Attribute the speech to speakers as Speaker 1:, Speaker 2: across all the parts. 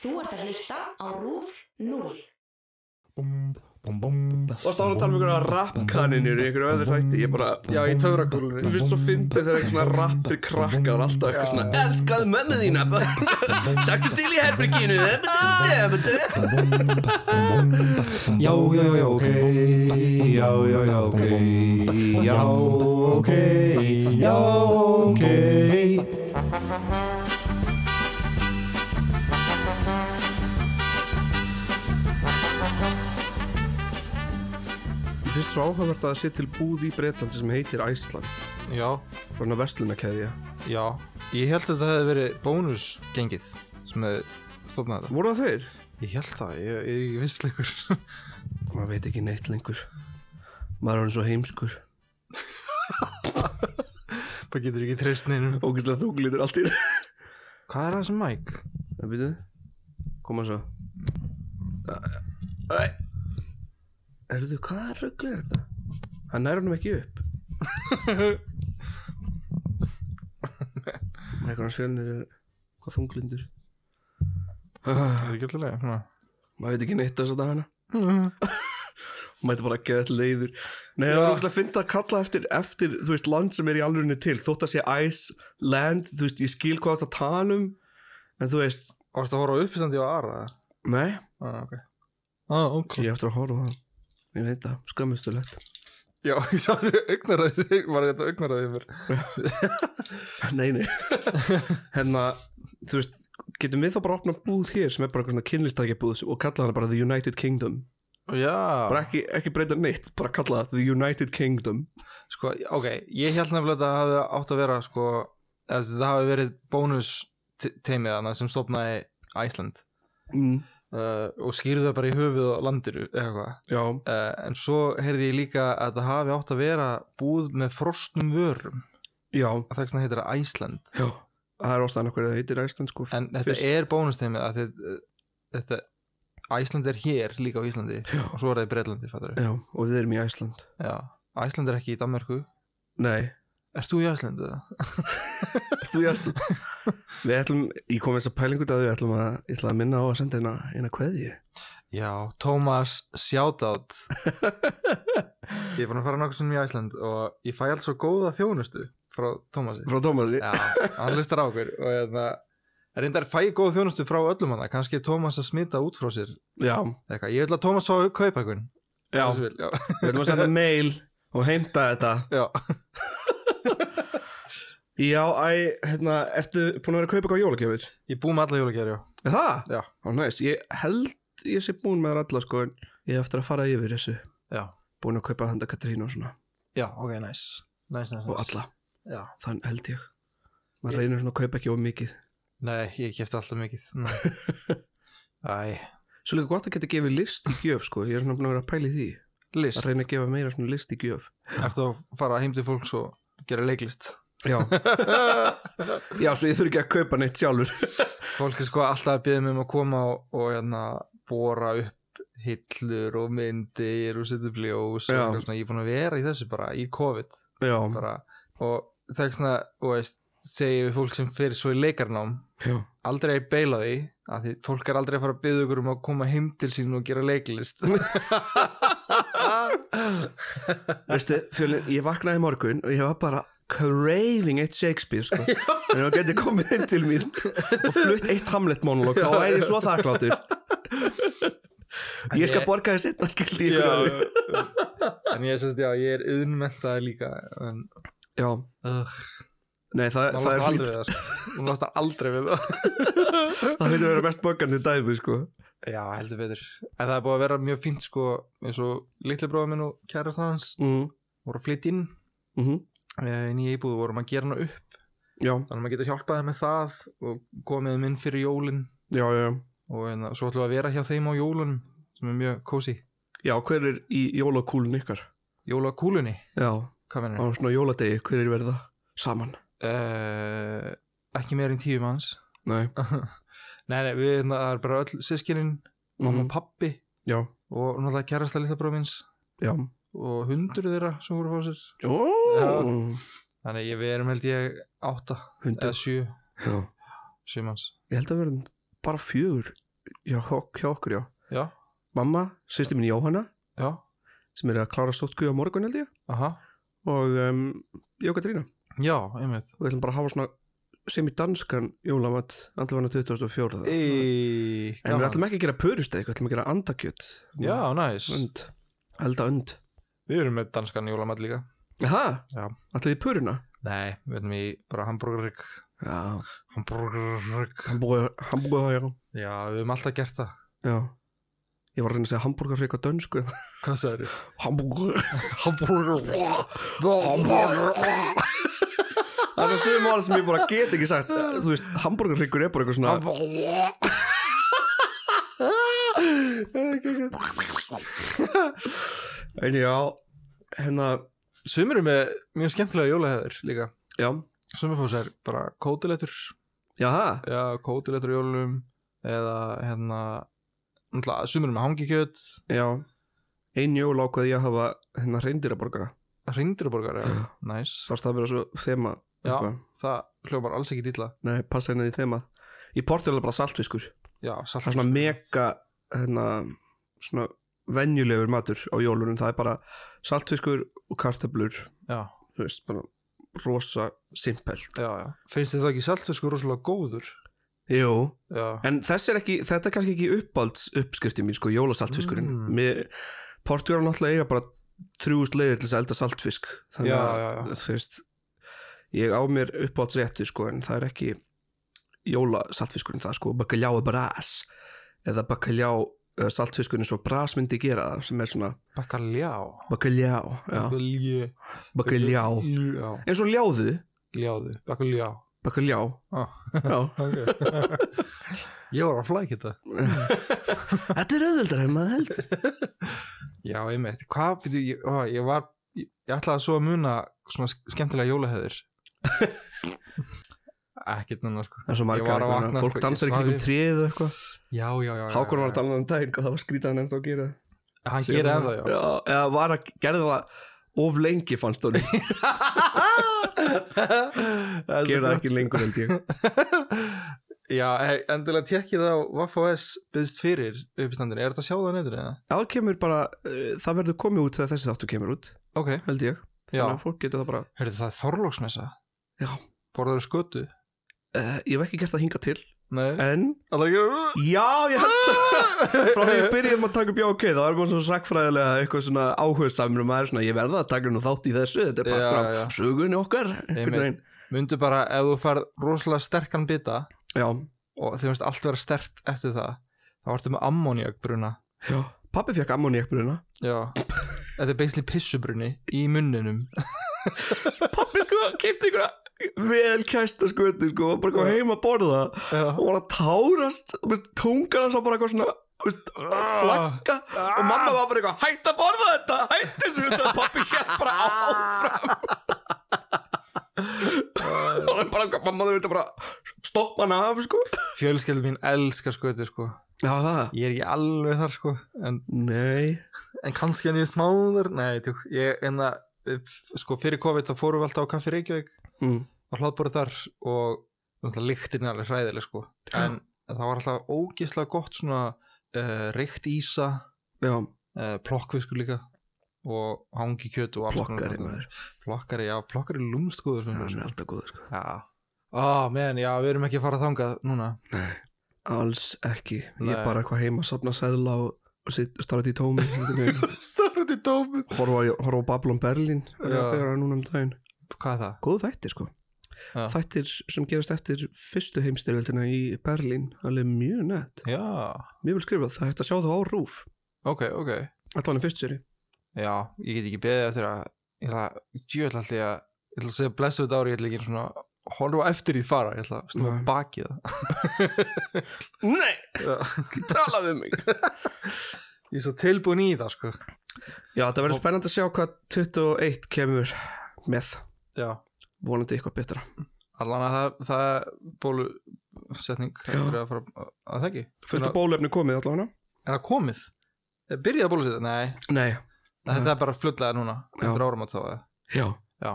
Speaker 1: Þú ert að hlusta á RÚF 0.
Speaker 2: Varst áður að tala um einhverja rappkaninir í einhverju öðru þætti Ég bara,
Speaker 3: Já, í töfrakúlunni.
Speaker 2: mér finnst svo fyndið þegar eitthvað svona rapp fyrir krakka Það er alltaf eitthvað svona Elskaðu mömmu þína Takk til í herberginu
Speaker 4: Já, já, já, ok Já, já, já, ok Já, ok Já, ok
Speaker 2: Mér finnst svo áhugavert að það sé til búð í Breitlandi sem heitir Æsland
Speaker 3: Já,
Speaker 2: Bara svona verslunakeðja
Speaker 3: já. Ég held að það hefði verið bónusgengið sem hefði stofnað þetta.
Speaker 2: Voru það þeir?
Speaker 3: Ég held það, ég, ég er ekki vissleikur.
Speaker 2: Maður veit ekki neitt lengur Maður er hann svo heimskur
Speaker 3: Það getur ekki treyst neynum.
Speaker 2: Ógæslega þunglítur allt í einu.
Speaker 3: Hvað er það sem mæk?
Speaker 2: En býtu Koma svo Erðu, hvaða rugl er þetta? Hann nær honum ekki upp Eitthvað hans fjölnir er Hvað þunglindur
Speaker 3: Það er ekki alltaf leið, svona.
Speaker 2: Maður veit ekki neitt þess að það hana Mæti bara að geða þetta leiður Nei, það er ógæslega fyndið að kalla eftir Eftir, þú veist, land sem er í alvörinni til Þótt að sé ice, land Þú veist, ég skil hvað það tala um En þú veist,
Speaker 3: Ást að horfa á uppstandi á Ara?
Speaker 2: nei
Speaker 3: Ah, ok. Ah, ok.
Speaker 2: Ég eftir að horfa á hann Ég veit það, skömmustulegt
Speaker 3: Já, ég sá þessi augnaraði, var þetta augnaraði mér.
Speaker 2: Nei, nei Hérna, þú veist Getum við þá bara að opna búð hér sem er bara eitthvað kynlistækja búð og kalla hana bara The United Kingdom
Speaker 3: Já,
Speaker 2: bara ekki, ekki breyta neitt, bara kalla það The United Kingdom
Speaker 3: sko, ok, ég held nefnilega að það hafi átt að vera, sko, eða sem sagt, það hafi verið bónusteimið hana sem stofnaði Æsland
Speaker 2: mm.
Speaker 3: uh, og skýrðu það bara í höfuð og landiru, eða eitthvað.
Speaker 2: Já,
Speaker 3: Uh, en svo heyrði ég líka að það hafi átt að vera búð með frostnum vörum,
Speaker 2: já,
Speaker 3: að það heitir það Æsland.
Speaker 2: já Það er ástæðan okkur að það heitir Æsland sko
Speaker 3: En þetta
Speaker 2: fyrst.
Speaker 3: er bónusteimið að þetta, þetta Æsland er hér líka á Íslandi og svo er það í Breitlandi, fattar
Speaker 2: Já, og við erum í Æsland
Speaker 3: Já, Æsland er ekki í Danmörku
Speaker 2: Nei,
Speaker 3: Erst þú í Æslandu?
Speaker 2: þú í Æsland Við ætlum, ég kom eins að pælingu að við ætlum að, ég ætla að minna á að senda hérna eina kveðju
Speaker 3: Já, Tómas, shoutout Ég er búin að fara nokkuð sem í Æsland og ég fæ alls svo góða þjónustu frá Tómasi
Speaker 2: frá Tómasi
Speaker 3: Já, hann listar á okkur og hérna reyndar fæ ég góða þjónustu frá öllum hana kannski er Tómas að smita út frá sér
Speaker 2: Já,
Speaker 3: eða eitthvað, ég vil að Tómas fá kaupa einhvern
Speaker 2: já,
Speaker 3: Ef þú vill, já,
Speaker 2: við ætlum að senda mail og heimta þetta
Speaker 3: já.
Speaker 2: Já, æ, hérna, ertu búin að vera að kaupa eitthvað jólagjöfur?
Speaker 3: Ég búið með alla jólagjari
Speaker 2: Er það?
Speaker 3: Já,
Speaker 2: Ó, næs, ég held ég sé búin með þær alla sko en ég hef eftir að fara yfir þessu
Speaker 3: já,
Speaker 2: búin að kaupa handa Katrínu og svona
Speaker 3: já, ok, nice Nice, nice, nice
Speaker 2: og alla,
Speaker 3: Já,
Speaker 2: þann held ég maður reynir svona að kaupa ekki of mikið
Speaker 3: nei, ég kefti alltaf mikið nei. Æ,
Speaker 2: Svo líka gott að geta gefið list í gjöf sko ég er svona búin að vera að pæla í því
Speaker 3: list
Speaker 2: að reyna að gefa meira svona list í gjöf
Speaker 3: Ertu að fara heim til fólks og gera leiklist?
Speaker 2: Já, já, svo ég þurfi ekki að kaupa neitt sjálfur
Speaker 3: Fólk er sko alltaf að byrja mig um að koma og, og hérna, bóra upp hillur og myndir og setja upp ljós og
Speaker 2: Já.
Speaker 3: eitthvað svona. Ég er búin að vera í þessu bara, í COVID
Speaker 2: Já,
Speaker 3: bara. og það er svona, og veist, segi ég við fólk sem fyrir svo í leikarnám
Speaker 2: já,
Speaker 3: aldrei beila því að því fólk er aldrei að fara að byrja ykkur um að koma heim til sín og gera leiklist
Speaker 2: veistu, fjölinn, ég vaknaði í morgun og ég var bara craving eitt Shakespeare sko en það geti komið inn til mín og flutt eitt Hamlet monolog þá væri ég svo þakkláttur ég skal borga þér setna skildi ég já,
Speaker 3: en ég sérst, já, ég er yðnmentaði líka en
Speaker 2: já.
Speaker 3: uh,
Speaker 2: Nei, það, það er hlýtt
Speaker 3: aldrei við það sko. Hún losnar aldrei við það
Speaker 2: það heitir að vera mest borgandi dæmi sko
Speaker 3: Já, heldur betur. En það er búið að vera mjög fínt sko, eins og litli bróða minn og kærast hans
Speaker 2: mm,
Speaker 3: voru að flytja inn
Speaker 2: mm
Speaker 3: eh, inn í íbúðu, vorum að gera hana upp
Speaker 2: já,
Speaker 3: þannig að maður getur hjálpað þeim með það og komið þeim inn fyrir jólin
Speaker 2: já, já
Speaker 3: og en, svo ætlum við að vera hjá þeim á jólun sem er mjög kósi.
Speaker 2: já, hver er í jólakúlun ykkar
Speaker 3: Jólakúlunni,
Speaker 2: já,
Speaker 3: hvað
Speaker 2: á
Speaker 3: mennir?
Speaker 2: svona jóladegi hver er verða saman
Speaker 3: Uh, ekki meir en tíu manns.
Speaker 2: Nei,
Speaker 3: Ah. Nei, nei, við hérna, það er bara öll sískinin, mamma
Speaker 2: Mhm.
Speaker 3: og pappi
Speaker 2: já,
Speaker 3: og náttúrulega kærasta litla bróða minns
Speaker 2: já
Speaker 3: og hundur þeirra sem voru að fá sér.
Speaker 2: Ó,
Speaker 3: Þannig að ég- við erum held ég átta
Speaker 2: hundur
Speaker 3: eða sjö,
Speaker 2: já.
Speaker 3: sjö manns.
Speaker 2: Ég held að verðum bara fjögur hjá, ok- hjá okkur, já
Speaker 3: já,
Speaker 2: Mamma, sýsti mín Jóhanna
Speaker 3: já,
Speaker 2: sem er að klára stóttku á morgun held ég
Speaker 3: aha
Speaker 2: og um, ég og Katrína
Speaker 3: já, einmitt
Speaker 2: og við ætlum bara að hafa svona sem í danskan jólamat andlefana 2004 en
Speaker 3: Í,
Speaker 2: við
Speaker 3: gaman.
Speaker 2: ætlum ekki að gera pörusteik við ætlum að gera andakjöt
Speaker 3: já, næs,
Speaker 2: und, elda und
Speaker 3: við erum með danskan jólamall líka
Speaker 2: Aha,
Speaker 3: Já.
Speaker 2: ætlum þið pöruna?
Speaker 3: nei, við erum í bara hambúrgarrygg
Speaker 2: Já,
Speaker 3: hambúrgarrygg,
Speaker 2: hambúrgar
Speaker 3: já, við höfum alltaf gert það
Speaker 2: Já, ég var að reyna að segja hambúrgar frík á dönsku
Speaker 3: hvað sagður þið?
Speaker 2: Hambúrgar
Speaker 3: hambúrgarrygg
Speaker 2: Það er sem orð sem ég bara get ekki sagt Þú veist, hambúrgar fríkur er bara eitthvað svona En já, hérna
Speaker 3: sumir eru með mjög skemmtilega jólaheðir líka
Speaker 2: Já,
Speaker 3: sumir fá sér bara kótilettur
Speaker 2: já,
Speaker 3: já, kótilettur í jólum eða hérna náttúrulega, sumir eru með hangikjöt
Speaker 2: já Einn jól ákvað ég að hafa hérna reyndiraborgara
Speaker 3: reyndirborgar, já, næs
Speaker 2: Fast það að vera svo þema
Speaker 3: já,
Speaker 2: eitthvað.
Speaker 3: það hljómar alls ekki dýla
Speaker 2: Nei, passa hérna í þema Í Portugal er bara saltfiskur
Speaker 3: já,
Speaker 2: það
Speaker 3: salt
Speaker 2: er svona mega hérna, svona venjulegur matur á jólunum, það er bara saltfiskur og kartöblur
Speaker 3: já,
Speaker 2: þú veist, bara rosa simpelt.
Speaker 3: já, já. finnst þið það ekki saltfiskur rosalega góður
Speaker 2: Jú,
Speaker 3: já,
Speaker 2: en þess er ekki, þetta er kannski ekki uppáhalds uppskriftin mín, sko, jólasaltfiskurinn
Speaker 3: Mm.
Speaker 2: mér, Portugal náttúrulega eiga bara þrjúst leiðir til þess að elda saltfisk þannig
Speaker 3: já,
Speaker 2: að,
Speaker 3: já, já.
Speaker 2: þú veist ég á mér uppáhalds réttu, sko, en það er ekki jólasaltfiskurinn það, sko, bakaljá er brás eða bakaljá eh, saltfiskurinn svo brás myndi gera það, sem er svona
Speaker 3: bakaljá
Speaker 2: Bakaljá, já,
Speaker 3: bakaljá
Speaker 2: bakaljá
Speaker 3: já,
Speaker 2: Eins og ljáðu,
Speaker 3: ljáðu, bakaljá
Speaker 2: bakaljá
Speaker 3: Ah.
Speaker 2: Já.
Speaker 3: okay. ég var að flækja þetta
Speaker 2: Þetta er auðvöldar en maður held
Speaker 3: Já, einmitt, hvað, byrju, ég, ó, ég var ég, ég ætlaði svo að muna svona sk- skemmtilega jólaheðir Ekkert núna, sko
Speaker 2: Það er svo
Speaker 3: Ég var
Speaker 2: margar,
Speaker 3: að
Speaker 2: eitthvað,
Speaker 3: vakna,
Speaker 2: fólk
Speaker 3: sko, ég
Speaker 2: dansar ekki
Speaker 3: svaði.
Speaker 2: um tréð og eitthvað
Speaker 3: Já, já, já, já
Speaker 2: Hákon var að tala um daginn hvað það var skrýtaðan ennþá að gera
Speaker 3: tala Hann gerir ennþá, já
Speaker 2: Eða var að gerði það of lengi fannst hún
Speaker 3: Það er svo
Speaker 2: Gerði það
Speaker 3: gott.
Speaker 2: ekki lengur en tíu
Speaker 3: Já, hey, endilega tekkið á Waffos byggðist fyrir uppstandinu, er þetta að sjá það neyður eða?
Speaker 2: Það kemur bara, eh, það verður komið út þegar þessi þáttu kemur út,
Speaker 3: Ok,
Speaker 2: held ég Þannig
Speaker 3: Já.
Speaker 2: að fólk getur það bara
Speaker 3: heyrðu það er Þorlóksmessa
Speaker 2: Já.
Speaker 3: Borðar skötu?
Speaker 2: uh, Ég hef ekki gert það hingað til
Speaker 3: Nei,
Speaker 2: En,
Speaker 3: það er ekki
Speaker 2: já, ég held frá því ég byrjaði að taka upp já ok þá er maður svona sakfræðilega eitthvað svona áhugaðsamur og maður er svona ég verða að taka nú þátt í þessu þetta er
Speaker 3: Já,
Speaker 2: bara
Speaker 3: já.
Speaker 2: frá sögunni okkar einhvern veginn.
Speaker 3: Mundu bara ef þú færð rosalega sterkan bita
Speaker 2: já,
Speaker 3: og þegar finnst allt vera stert eftir það þá ertu með ammoniakbruna
Speaker 2: já pappi fekk ammoniakbruna
Speaker 3: já, þetta er basically pissubruni í munninum
Speaker 2: pappi sko kipti ykkur vel kæsta skötu sko var bara kom heima að borða
Speaker 3: já,
Speaker 2: og var að tárast þú veist, tungan hans var bara eitthvað svona þú veist, að flagga og mamma var bara eitthvað hætt að borða þetta hætt þessu þetta pappi hér bara áfram og hann bara mamma þau vildi bara stoppa hann af sko
Speaker 3: fjölskeldur mín elskar skötu sko
Speaker 2: Já, það?
Speaker 3: ég er ekki alveg þar sko en,
Speaker 2: Nei
Speaker 3: en kannski en ég smáður nei, tjók, ég en að sko fyrir COVID þá fórum við alltaf á kaffi Reykjavík
Speaker 2: mm.
Speaker 3: og hlaðbúrið þar og náttúrulega lyktin er alveg hræðileg sko en það var alltaf ógeðslega gott svona uh, reykt ísa
Speaker 2: Já,
Speaker 3: uh, plokkvisku líka og hangi kjöt og alls konar
Speaker 2: plokkari
Speaker 3: svona.
Speaker 2: maður
Speaker 3: Plokkari, já, plokkari er lúmstgóður
Speaker 2: Já,
Speaker 3: fyrir
Speaker 2: Hann
Speaker 3: mér.
Speaker 2: er alltaf góður sko
Speaker 3: Já. Á, menn, já, við erum ekki að fara þangað núna.
Speaker 2: Nei Alls ekki Ég
Speaker 3: Nei.
Speaker 2: er bara eitthvað heima safna sæðla og, og sitt, starra í tómi einhvern veginn.
Speaker 3: Starfut í dómið.
Speaker 2: Horfa á- horfa á Babylon Berlin Það er
Speaker 3: Já.
Speaker 2: að byrja núna um daginn
Speaker 3: Hvað er það?
Speaker 2: Góð þættir sko
Speaker 3: Já.
Speaker 2: Þættir sem gerast eftir fyrstu heimstyrjöldina í Berlín Alveg mjög nett
Speaker 3: Já,
Speaker 2: Mjög vel skrifað, það er hægt að sjá það á rúf
Speaker 3: ok, ok.
Speaker 2: Þetta var hann fyrst séri
Speaker 3: Já, ég get ekki beðið eftir að, ég ætla að, ég ætla alltaf að, ég ætla að segja blessu þetta ári, ég ætla ekki svona að horfa eftir því fara, ég ætla að snúa
Speaker 2: Nei.
Speaker 3: bakið það.
Speaker 2: Nei,
Speaker 3: Já.
Speaker 2: ekki tala við mig
Speaker 3: Ég er svo tilbúin í það, sko.
Speaker 2: Já, það verður spennandi að sjá hvað 21 kemur með
Speaker 3: Já.
Speaker 2: vonandi eitthvað betra
Speaker 3: Allan að það, það er bólusetning, það er að fara að, að það ekki.
Speaker 2: fullt af bólefni komið allavega
Speaker 3: En það komið. Byrjaði að bólusetja? Nei,
Speaker 2: nei,
Speaker 3: þetta er bara flutlega núna,
Speaker 2: Já.
Speaker 3: eftir árum þá eða.
Speaker 2: já,
Speaker 3: Já.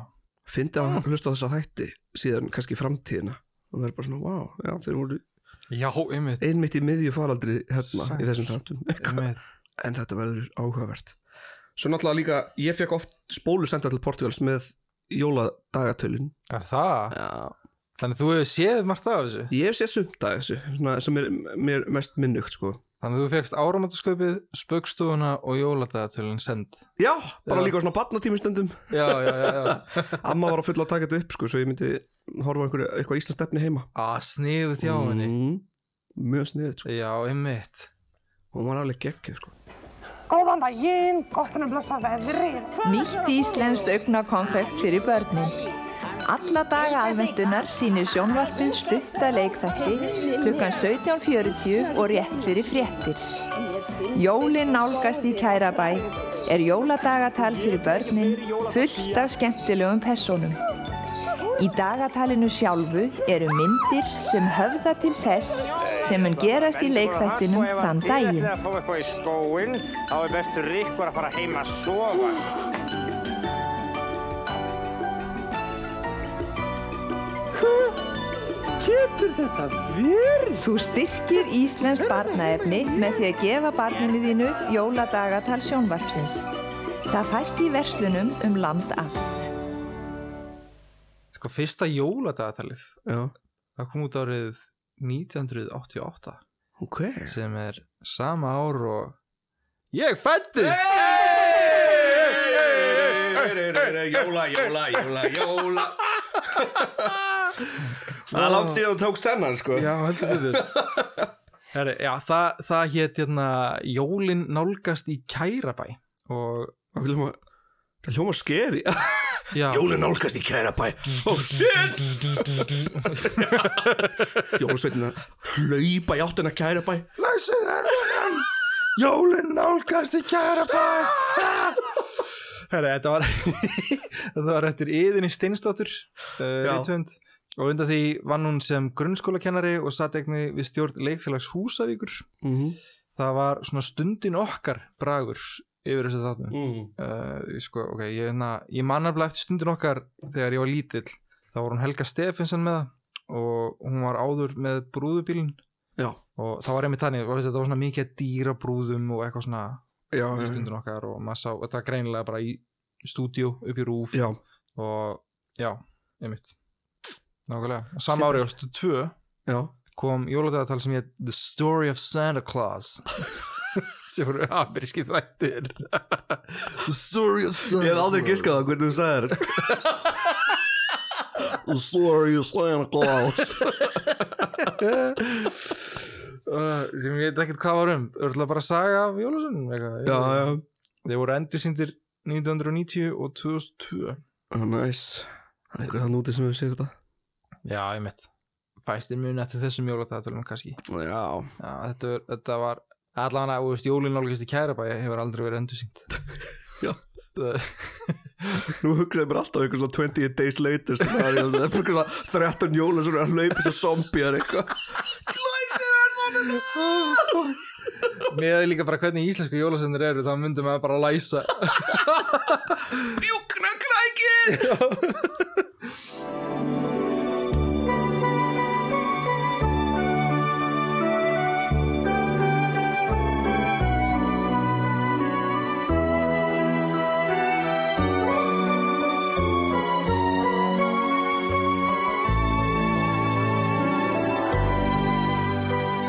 Speaker 2: fyndi að hlusta á þessa þætti síðan kannski í framtíðina og það er bara svona, wow, já, þeir voru
Speaker 3: Já, einmitt,
Speaker 2: einmitt í miðju faraldri hérna í þessum þáttum
Speaker 3: einmitt.
Speaker 2: en þetta verður áhugavert svo náttúrulega líka, ég fekk oft spólu senda til Portugals með jóladagatölin
Speaker 3: Er það?
Speaker 2: Já.
Speaker 3: Þannig að þú hefur séð margt af þessu
Speaker 2: ég hef séð sumt af þessu svona, sem er mér mest minnugt sko.
Speaker 3: Þannig að þú fegst áramöndaskaupið, spöggstofuna og jóladagatölinn send
Speaker 2: já, bara
Speaker 3: Já.
Speaker 2: líka svona barnatími stundum
Speaker 3: Já, já, já, já
Speaker 2: amma var á fulla að taka þetta upp sko, svo ég myndi horfa á einhverju eitthvað Íslands stefni heima
Speaker 3: Á, sniðu þjáinni
Speaker 2: mm, mjög sniðið, sko.
Speaker 3: Já, einmitt
Speaker 2: hún var alveg geggjöð sko.
Speaker 5: Góðan daginn, gott en að blessa veðrið.
Speaker 6: Nýtt íslenskt augnakonfekt fyrir börnin. Alla daga aðvendunar sýnir sjónvarpið stutta leikþætti klukkan 17.40 og rétt fyrir fréttir. Jólin nálgast í Kærabæ er jóladagatal fyrir börnin fullt af skemmtilegum personum. Í dagatalinu sjálfu eru myndir sem höfða til þess sem mun gerast í leikþættinum þann daginn.
Speaker 7: Ef að fá eitthvað í skóin, þá er best fyrir ykkur að fara heim að sofa.
Speaker 6: Þú styrkir Íslensk barnaefni með því að gefa barninu þínu jóladagatal sjónvarpsins. Það fæst í verslunum um land allt.
Speaker 3: Sko, fyrsta jóladagatalið
Speaker 2: já,
Speaker 3: Það kom út árið 1988
Speaker 2: ok
Speaker 3: sem er sama ár og Ég fættist!
Speaker 2: Jóla, jóla, jóla, jóla Það er langt síðan þú tókst hennar sko
Speaker 3: Já, heldur betur Heri, Já, það, það hét hérna Jólin nálgast í Kærabæ og
Speaker 2: Það hljóma- það hljóma skeri
Speaker 3: já,
Speaker 2: Jólin nálgast í kæra bæ Oh shit Jólasveitin að hlaupa í áttina kæra bæ
Speaker 3: Læsið herrunum Jólin nálgast í kærabæ Herra, þetta var þetta var eftir yðinni Steinsdóttur
Speaker 2: Já.
Speaker 3: uh, rithönd og undan því vann hún sem grunnskólakennari og satt eigni við stjórn leikfélags Húsavíkur
Speaker 2: Mhm.
Speaker 3: það var svona stundin okkar bragur yfir þessu þáttum
Speaker 2: Mm.
Speaker 3: uh, sko, ok, ég, na, ég man alveg eftir stundin okkar þegar ég var lítill þá var hún Helga Stefinsen með það og hún var áður með brúðubílin
Speaker 2: Já,
Speaker 3: og það var einmitt þannig, þú veist, þetta var svona mikið dýra brúðum og eitthvað svona
Speaker 2: já,
Speaker 3: í
Speaker 2: já,
Speaker 3: stundin okkar og maður sá, þetta var greinilega bara í stúdíu upp í rúf
Speaker 2: já
Speaker 3: og já, einmitt nákvæmlega, og sama ári á stu 2
Speaker 2: Já,
Speaker 3: kom jóladagatal sem ég The Story of Santa Claus sem voru ameríski þættir The Story of Santa Claus
Speaker 2: Ég hef aldrei giskað það hvernig þú sagðir The story of Santa Claus
Speaker 3: uh, sem ég veit ekkert hvað var um örgulega bara saga af Jólusunum
Speaker 2: Já, já,
Speaker 3: þeir voru endur síndir 1990 og 2002
Speaker 2: næs nice. Það er einhver þann úti sem hefur sér þetta
Speaker 3: já, ég mitt fæstir muni eftir þessum jóladagatölum kannski
Speaker 2: Já,
Speaker 3: já, þetta, var- þetta var allan að veist, jólin nálgist í Kærabæja hefur aldrei verið endur sínd
Speaker 2: Já.
Speaker 3: það
Speaker 2: nú hugsaði mér alltaf einhver svona 28 days later sem það er í- það er bara einhver svona 13 jóla sem er að hlaupa svo zombiear eitthvað
Speaker 3: með að líka bara hvernig íslensku jólasendur eru þá myndum við bara að læsa
Speaker 2: Bjúkna kræki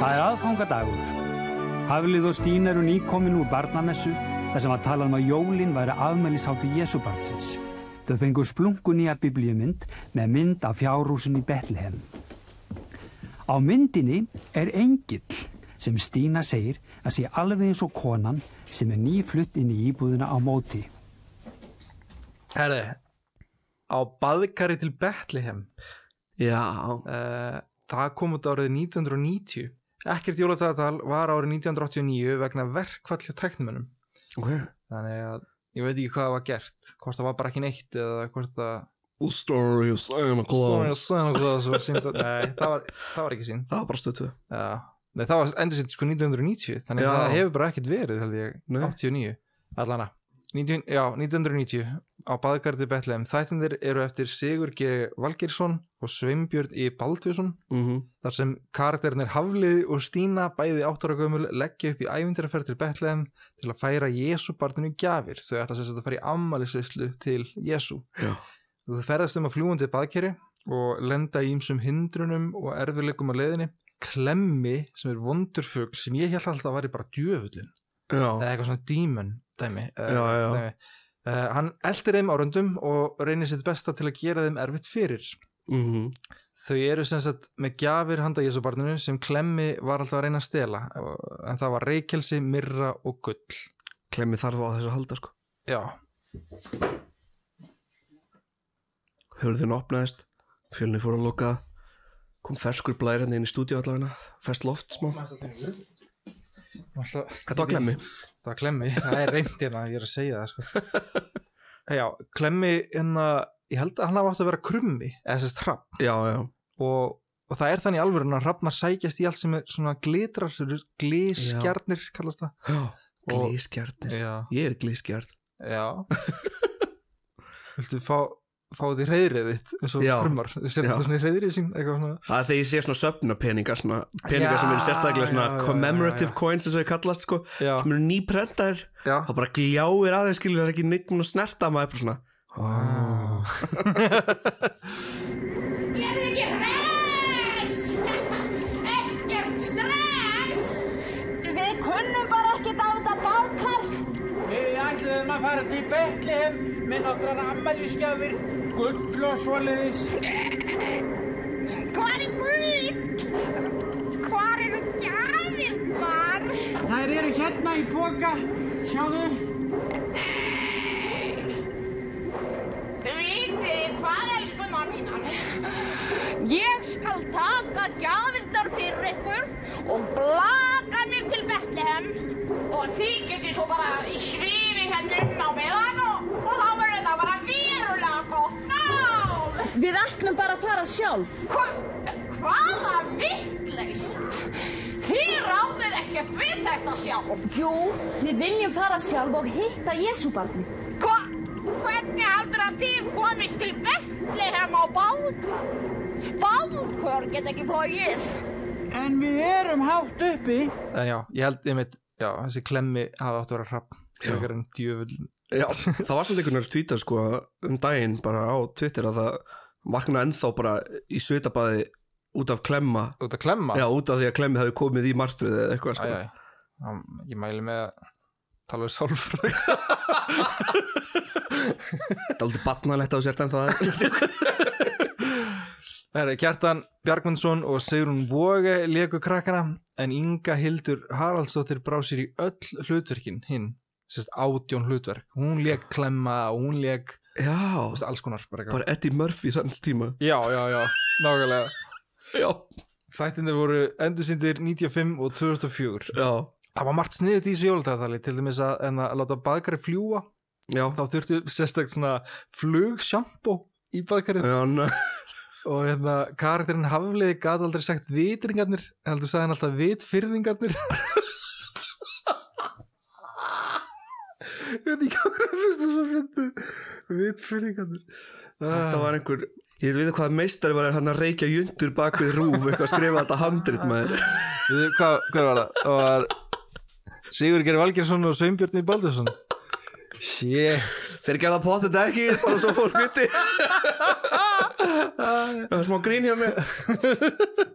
Speaker 8: Það er aðfangadagur. Haflið og Stín eru nýkomin úr barnamessu þar sem að talað um að jólinn væri afmælishátti Jésubarnsins. Þau fengur splunkun í að biblíumynd með mynd af fjárhúsin í Betlehem. Á myndinni er engill sem Stína segir að sé alveg eins og konan sem er nýflutt inn í íbúðina á móti.
Speaker 3: herri á baðkari til Bethlehem
Speaker 2: Já,
Speaker 3: Eh, það kom út árið 1990 ekkert jólatagatal var árið 1989 vegna verkfall hjá tæknumennum
Speaker 2: ok
Speaker 3: þannig að ég veit ekki hvað það var gert hvort það var bara ekki neitt eða hvort það
Speaker 2: The story of Santa
Speaker 3: Story
Speaker 2: Claus
Speaker 3: of Santa Claus var sýnd á- nei, það var, það var ekki sýnd
Speaker 2: Það var bara stötu
Speaker 3: uh, nei, það var endur sýnd sko 1990 þannig að
Speaker 2: Já.
Speaker 3: það hefur bara ekkert verið held ég,
Speaker 2: Nei.
Speaker 3: 89 allana 19, já, 1990 á baðgarði Betlehem. Þættindir eru eftir Sigur G. Valgeirsson og Sveinbjörn í Baldvísson
Speaker 2: mm
Speaker 3: þar sem karakterinir Hafliði og Stína bæði áttur og gömul leggja upp í ævindiraferð til Betlehem til að færa Jésu barninu gjafir. Þau ætla sér að fara í ammælisvislu til Jésu.
Speaker 2: Já.
Speaker 3: Þau ferðast um að fljúandi baðkeri og lenda í ymsum hindrunum og erfiðleikum á leiðinni. Klemmi sem er vondurfugl sem ég held alltaf að væri bara djöfullin
Speaker 2: Já,
Speaker 3: eða eitthvað svona dímon dæmi, eh,
Speaker 2: Já, já.
Speaker 3: dæmi. Uh, hann eldir þeim árundum og reynir sitt besta til að gera þeim erfitt fyrir
Speaker 2: mm
Speaker 3: þau eru sem sagt með gjafir handa Jésu barninu sem Klemmi var alltaf að reyna að stela eh, en það var reykelsi, myrra og gull
Speaker 2: klemmi þarf á þessu að halda sko
Speaker 3: já,
Speaker 2: Hörðin opnaðist, fjölni fór að loka kom ferskur blær hann inn í stúdíu allavega ferst loft smá,
Speaker 3: alltaf,
Speaker 2: þetta var klemmi
Speaker 3: það var Klemmi það er reynd hérna, ég er að segja það sko. Eh, já, Klemmi hérna, ég held að hann hafa átt að vera krummi eða sérst hrapp
Speaker 2: Já, já,
Speaker 3: og, og það er þannig alveg að hrafnar sækjast í allt sem er svona glitrar glískjarnir kallast það
Speaker 2: já.
Speaker 3: Og-
Speaker 2: glískjarnir
Speaker 3: já,
Speaker 2: Ég er glískjart
Speaker 3: já. viltu fá, fá því reyðrið þitt eins og
Speaker 2: Já.
Speaker 3: krummar, þú sér
Speaker 2: Já.
Speaker 3: þetta svona í reyðrið sín eitthvað svona
Speaker 2: Það er þegar ég sé svona söfna peningar svona, peningar sem eru sérstaklega svona
Speaker 3: Já, já, já,
Speaker 2: commemorative
Speaker 3: já, já.
Speaker 2: coins eins og ég kallast sko
Speaker 3: já,
Speaker 2: sem eru nýprentaðir
Speaker 3: já.
Speaker 2: þá bara gljáir aðeins skilur það er ekki neitt mun að snerta maður bara svona
Speaker 9: Ég er ekki hress! Ekkert stress! Við kunnum bara ekkert á þetta bákar.
Speaker 7: Við ætluðum að fara til Betlehem með nokkrar ammælisgjafir, gull og svoleiðis.
Speaker 9: Hvar er gull? Hvar eru gjafirnar?
Speaker 7: Þær eru hérna í boka, sjáðu.
Speaker 9: Vitið hvað, elskuna mínar? Ég skal taka gjafirnar fyrir ykkur og blaka mér til Betlehem og þið getið svo bara í svífi hérna um á meðan og, og þá verður þetta bara verulega gott mál.
Speaker 10: Við ætlum bara að fara sjálf.
Speaker 9: Hva, hvaða vittleysa? Þið ráðið ekkert við þetta sjálf.
Speaker 10: Jú, við viljum fara sjálf og hitta Jésúbarni.
Speaker 9: Hva, hvernig heldur að þið komist til Betlehem á bálkur? Bálkur get ekki flóið.
Speaker 7: En við erum hátt uppi.
Speaker 3: en já, ég held ég mitt já, þessi klemmi hafa átt að vera hrapp frekar en djöfull
Speaker 2: Já, það var svolítið einhvern veginn tvítar sko um daginn bara á Twitter að það vakna ennþá bara í svitabaði út af klemma
Speaker 3: út að klemma
Speaker 2: Já, út af því að klemmi hafi komið í martröð eða eitthvað
Speaker 3: Ah.
Speaker 2: sko
Speaker 3: Æ, æ. Já, ég mæli með að tala við sálfræð
Speaker 2: Það er aldrei batnalegt á sér en það
Speaker 3: Það er Kjartan Bjargmundsson og Sigrun Voge leku krakkana en Inga Hildur Haraldsdóttir brá sér í öll hlutverkin hinn, sérst átjón hlutverk hún leik klemma, hún leik
Speaker 2: Já,
Speaker 3: alls konar bara eitthvað.
Speaker 2: bara Eddie Murphy sanns tíma
Speaker 3: Já, já, já, nákvæmlega
Speaker 2: Já,
Speaker 3: Þættinni voru endursindir 95 og 2004
Speaker 2: já,
Speaker 3: Það var margt sniðut í þessu jólatæðali til dæmis að, en að láta baðkari fljúa
Speaker 2: já
Speaker 3: þá þurftu sérstakt svona flugsjampó í baðkarið
Speaker 2: Já, næ
Speaker 3: og hérna karakterinn Hafliði gat aldrei sagt vitringarnir heldur sagði hann alltaf vitfyrðingarnir ég veit ekki hvað er fyrst þess að finna vitfyrðingarnir
Speaker 2: Þetta var einhver, ég veit hvað meistari var hann að reykja jundur bak við rúf eitthvað að skrifa þetta handrit maður
Speaker 3: við, hvað, hvað var það? það var Sigur Geri Valgjesson og Sveinbjörn í Baldursson shit
Speaker 2: Þeir gerða potið ekki, bara svo fólk viti Það var smá grín hjá mér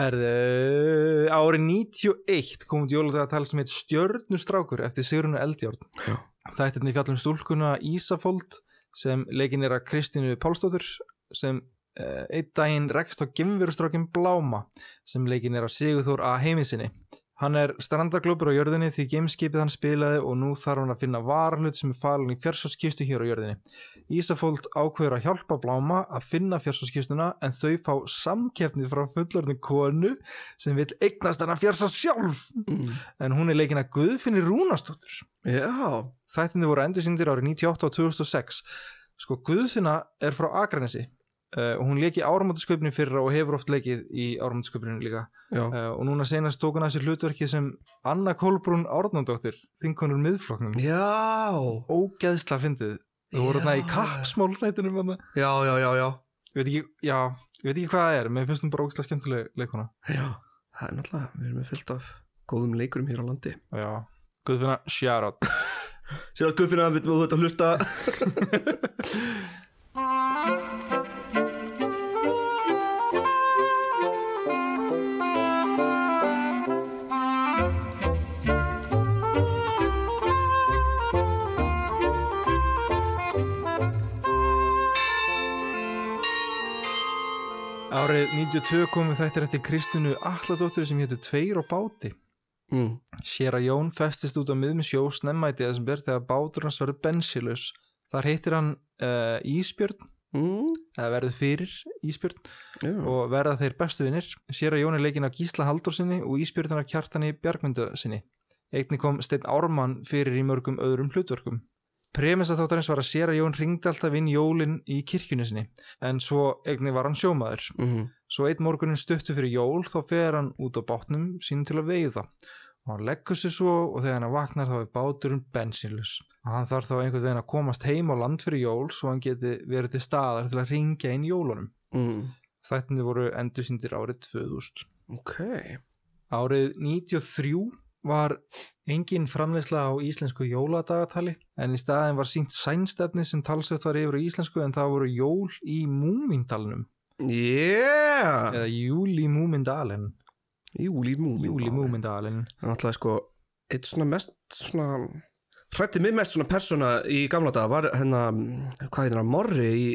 Speaker 3: Herðu, árið 91 kom út jólatagatal sem heit Stjörnustrákur eftir Sigrunu Eldjárn. Þættirni fjallum stúlkuna Ísafold sem leikinn er að Kristínu Pálsdóttur sem uh, einn daginn rekst á gemverustrákin Bláma sem leikinn er að Sigurþór að heiminsinni. Hann er strandaglópur á jörðinni því gameskipið hann spilaði og nú þarf hann að finna varahlut sem er falin í fjársóskistu hér á jörðinni. Ísafold ákveður að hjálpa Bláma að finna fjársóskistuna en þau fá samkeppni frá fullorðin konu sem vil eignast hana fjársás sjálf en hún er leikin að Guðfinni Rúnastóttur.
Speaker 2: Já,
Speaker 3: Þættinni voru endur síndir árið 98 og 2006. Sko Guðfinna er frá Akranesi uh, og hún leik í áramótasköpnin fyrra og hefur oft leikið í áramótasköpnin líka
Speaker 2: Já.
Speaker 3: uh, og núna senast tók hún að sér hlutverki sem Anna Kolbrún Árnandóttir þinkonur miðflokknum
Speaker 2: Já
Speaker 3: Ógeðsla fyndið Þú voru þarna í kappsmálþættinum þarna.
Speaker 2: Já, já, já, já
Speaker 3: Ég veit ekki, já, ég veit ekki hvað það er Mér finnst hún bara ógeðsla skemmtileg leikona
Speaker 2: Já, það er náttúrulega, við erum með fyllt af góðum leikurum hér á landi
Speaker 3: Já, Guðfinna, shout out
Speaker 2: Sér að Guðfinna, við þú þetta hlusta
Speaker 3: Árið 92 komu þættir eftir Kristunu Alladóttir sem hétu Tveir og Báti.
Speaker 2: mm.
Speaker 3: Séra Jón festist út á miðmi sjó snemma í desember þegar bátur hans verður bensilus. Þar hittir hann uh, Ísbjörn,
Speaker 2: mm.
Speaker 3: eða verður fyrir Ísbjörn
Speaker 2: Já.
Speaker 3: og verða þeir bestu vinnir. Séra Jón er leikinn af Gísla Halldór sinni og Ísbjörn er af Kjartani Bjargmyndu sinni. Einnig kom Steinn Ármann fyrir í mörgum öðrum hlutverkum. Premisa þáttarins var að Séra Jón ringdi alltaf inn jólinn í kirkjunni sinni en svo einnig var hann sjómaður.
Speaker 2: Mm.
Speaker 3: Svo einn morgunin stuttu fyrir jól þá fer hann út á bátnum sínum til að veiða og hann leggur sér svo og þegar hann vaknar þá er báturinn bensinlus og hann þarf þá einhvern veginn að komast heim á land fyrir jól svo hann geti verið til staðar til að ringja inn jólunum.
Speaker 2: Mm.
Speaker 3: Þættinni voru endursýndir árið 2000.
Speaker 2: Ok
Speaker 3: Árið 93 var engin framleysla á íslensku jóladagatali en í staðin var sínt sænstefni sem talsett var yfir á íslensku en það voru jól í múmindalunum
Speaker 2: Yeah
Speaker 3: eða júli múmindalinn.
Speaker 2: Júli Múmin
Speaker 3: Júli Múmindalinn
Speaker 2: Það er náttúrulega sko, eitt svona mest svona Hrætti mig mest svona persóna í gamla daga var hennar, hvað heitir hann, Morri í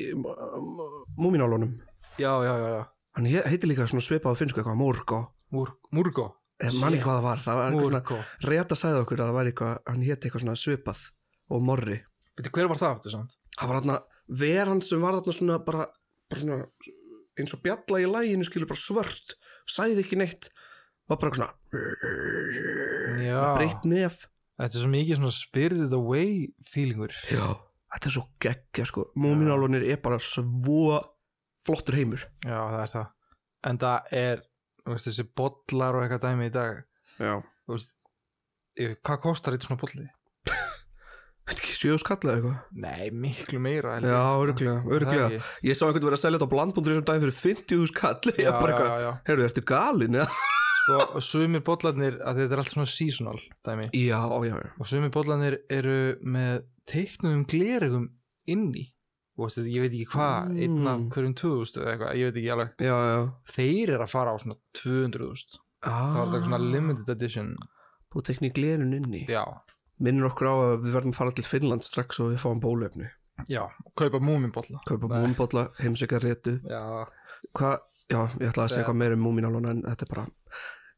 Speaker 2: Múminálunum.
Speaker 3: Já, já, já, já
Speaker 2: Hann he- heitir líka svona svipað á finnsku eitthvað, Morgo.
Speaker 3: Múr, Múrgo
Speaker 2: Ég man ekki hvað það var, það var eitthvað
Speaker 3: Múrgo
Speaker 2: svona, rétt að sagði okkur að það var eitthvað, hann hétt eitthvað svona svipað og Morri.
Speaker 3: Veitir, hver var það aftur samt?
Speaker 2: Það var þarna veran sem var þarna svona bara, bara svona eins og bjalla í læginu skilur bara svört, sagði ekki neitt, var bara svona,
Speaker 3: Já
Speaker 2: breytt nef.
Speaker 3: Þetta er svo mikið svona spirited away feelingur
Speaker 2: Já, þetta er svo geggja sko Múminálunir er bara svo flottur heimur
Speaker 3: Já, það er það En það er, þú veist, þessi bollar og eitthvað dæmi í dag
Speaker 2: Já
Speaker 3: Þú veist, ég- hvað kostar eitthvað svona bolli?
Speaker 2: Þetta ekki sjöðu skallað eitthvað
Speaker 3: Nei, miklu meira held ég.
Speaker 2: Já, örglega,
Speaker 3: Það er
Speaker 2: örglega
Speaker 3: ekki.
Speaker 2: Ég sá einhvern vera að selja þetta á blandbúndur þessum daginn fyrir 50 skall
Speaker 3: Já,
Speaker 2: Ég bara
Speaker 3: já,
Speaker 2: eitthvað,
Speaker 3: já, já
Speaker 2: heyrðu, ertu galinn? eða?
Speaker 3: Sko, og sumir bollarnir, að þetta er allt svona seasonal dæmi
Speaker 2: Já, já, já
Speaker 3: og sumir bollanir eru með teiknum glerugum inni og veist, þetta- ég veit ekki hvað
Speaker 2: Mm.
Speaker 3: einn af hverjum 2000 eða eitthvað, ég veit ekki alveg
Speaker 2: Já, já
Speaker 3: þeir eru að fara á svona 200.000
Speaker 2: Ah.
Speaker 3: það var þetta eitthvað svona limited edition
Speaker 2: Búið tekni glerun inni
Speaker 3: já,
Speaker 2: Minnir okkur á að við verðum að fara til Finnland strax og við fáum bólöfni
Speaker 3: já, kaupa múminbolla
Speaker 2: Kaupa múminbólla, heimsækja réttu
Speaker 3: já,
Speaker 2: Hvað, já, ég ætlaði að segja
Speaker 3: Já.
Speaker 2: eitthvað meira um múmináluna en þetta er bara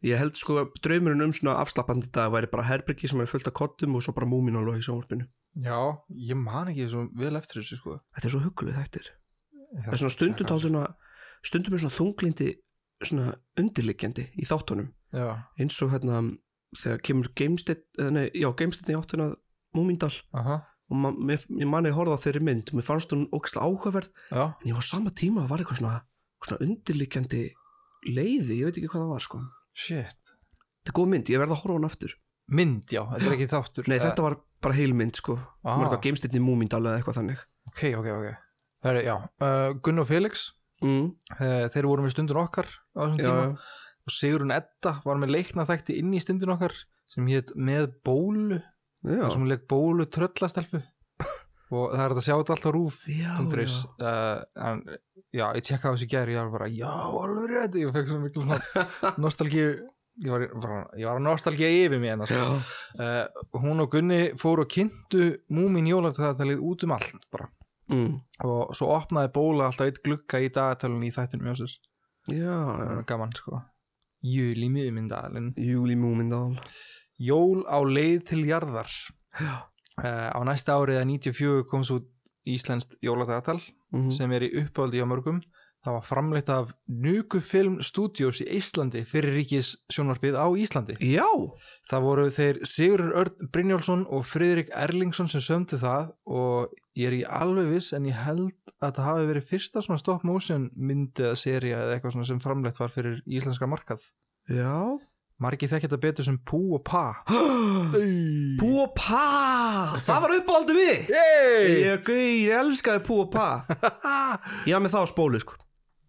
Speaker 2: Ég held sko að draumurinn um svona afslappandi dag væri bara herbyggi sem er fullt af kottum og svo bara múminálu í sjónvarpinu.
Speaker 3: já, ég man ekki svo vel eftir þessu sko
Speaker 2: Þetta er svo huggulega þættir. Það er svona stundum þá svona, stundum er svona þunglindi svona undirliggjandi í þáttunum.
Speaker 3: já,
Speaker 2: Eins og hérna þegar kemur geimstitt, nei, já, geimstitt í áttuna múmindal
Speaker 3: aha,
Speaker 2: og man, mér, ég mani að horfa á þeirri mynd og mér fannst hún ógislega áhugaverð
Speaker 3: já
Speaker 2: en ég var sama tíma að var eitthvað svona, svona undirliggjandi leiði, ég veit ekki hvað það var sko.
Speaker 3: shit,
Speaker 2: Þetta er góð mynd, ég verð að horfa á hún aftur.
Speaker 3: mynd já, þetta er ekki þáttur
Speaker 2: Nei,
Speaker 3: Eh,
Speaker 2: þetta var bara heilmynd sko
Speaker 3: Ah.
Speaker 2: Hún var eitthvað geimstinn í Múmindal eða eitthvað þannig
Speaker 3: Eh, ok, ok, ok það eru, já, uh, Gunn og Felix
Speaker 2: mm.
Speaker 3: eh, þeir voru með stundun okkar á þessum
Speaker 2: Já,
Speaker 3: tíma
Speaker 2: já.
Speaker 3: og Sigurun Edda var með leikna þætti inn í stundin okkar sem hétt með bólu
Speaker 2: Já.
Speaker 3: þar sem hún leik bólu tröllastelfu og það er hægt að sjá þetta alltaf rúf
Speaker 2: Já,
Speaker 3: já. Uh, en já, ég tjekka á þessu gæri ég var bara, já, alveg rétt ég fekk svo miklu svona nostalgíu ég var, bara, ég var að nostalgíu yfir hérna, sko. mér hennar
Speaker 2: já.
Speaker 3: uh, hún og Gunni fóru og kynntu múmin jólartæðatalið út um allt bara.
Speaker 2: Mm.
Speaker 3: og svo opnaði bóla alltaf eitt glugga í dagatalun í þættinum hjá sér
Speaker 2: já
Speaker 3: það
Speaker 2: já.
Speaker 3: var gaman sko júli miðmyndalinn
Speaker 2: Júli Múmindal
Speaker 3: Jól á leið til jarðar uh, á næsta árið að 94 kom svo út Íslenskt jóladagatal
Speaker 2: mm.
Speaker 3: sem er í uppáldi á mörgum það var framleitt af Nukufilm Studios í Íslandi fyrir ríkis sjónvarpið á Íslandi
Speaker 2: Já
Speaker 3: það voru þeir Sigurður Örn Brynjálsson og Friðrik Erlingsson sem sömdu það og ég er ekki alveg viss en ég held að það hafi verið fyrsta svona stop motion myndi eða seria eða eitthvað svona sem framleitt var fyrir íslenska markað
Speaker 2: Já
Speaker 3: Margi þekki þetta betur sem Pú og Pa
Speaker 2: Pú og Pa Það var uppáhaldið við
Speaker 3: Hey!
Speaker 2: Ég, gau- ég elskaði Pú og Pa Ég var með það á spólu sko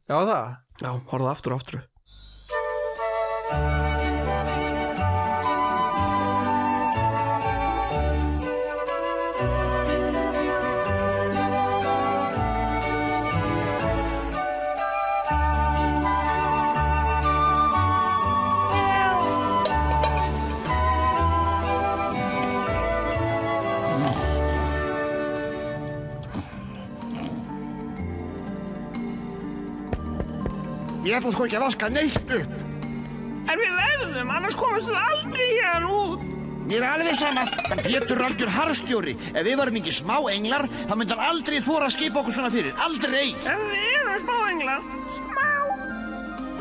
Speaker 3: Já það
Speaker 2: Já, horfðu aftur og aftur
Speaker 11: Ég ætla sko ekki að vaska neitt upp.
Speaker 12: En við verðum, annars komumst við aldrei hérna út.
Speaker 11: Mér er alveg sama. En Pétur er algjör harfstjóri. Ef við varum ekki smá englar, þá myndi hann aldrei þóra að skipa okkur svona fyrir. Aldrei!
Speaker 12: En við erum smá englar. Smá.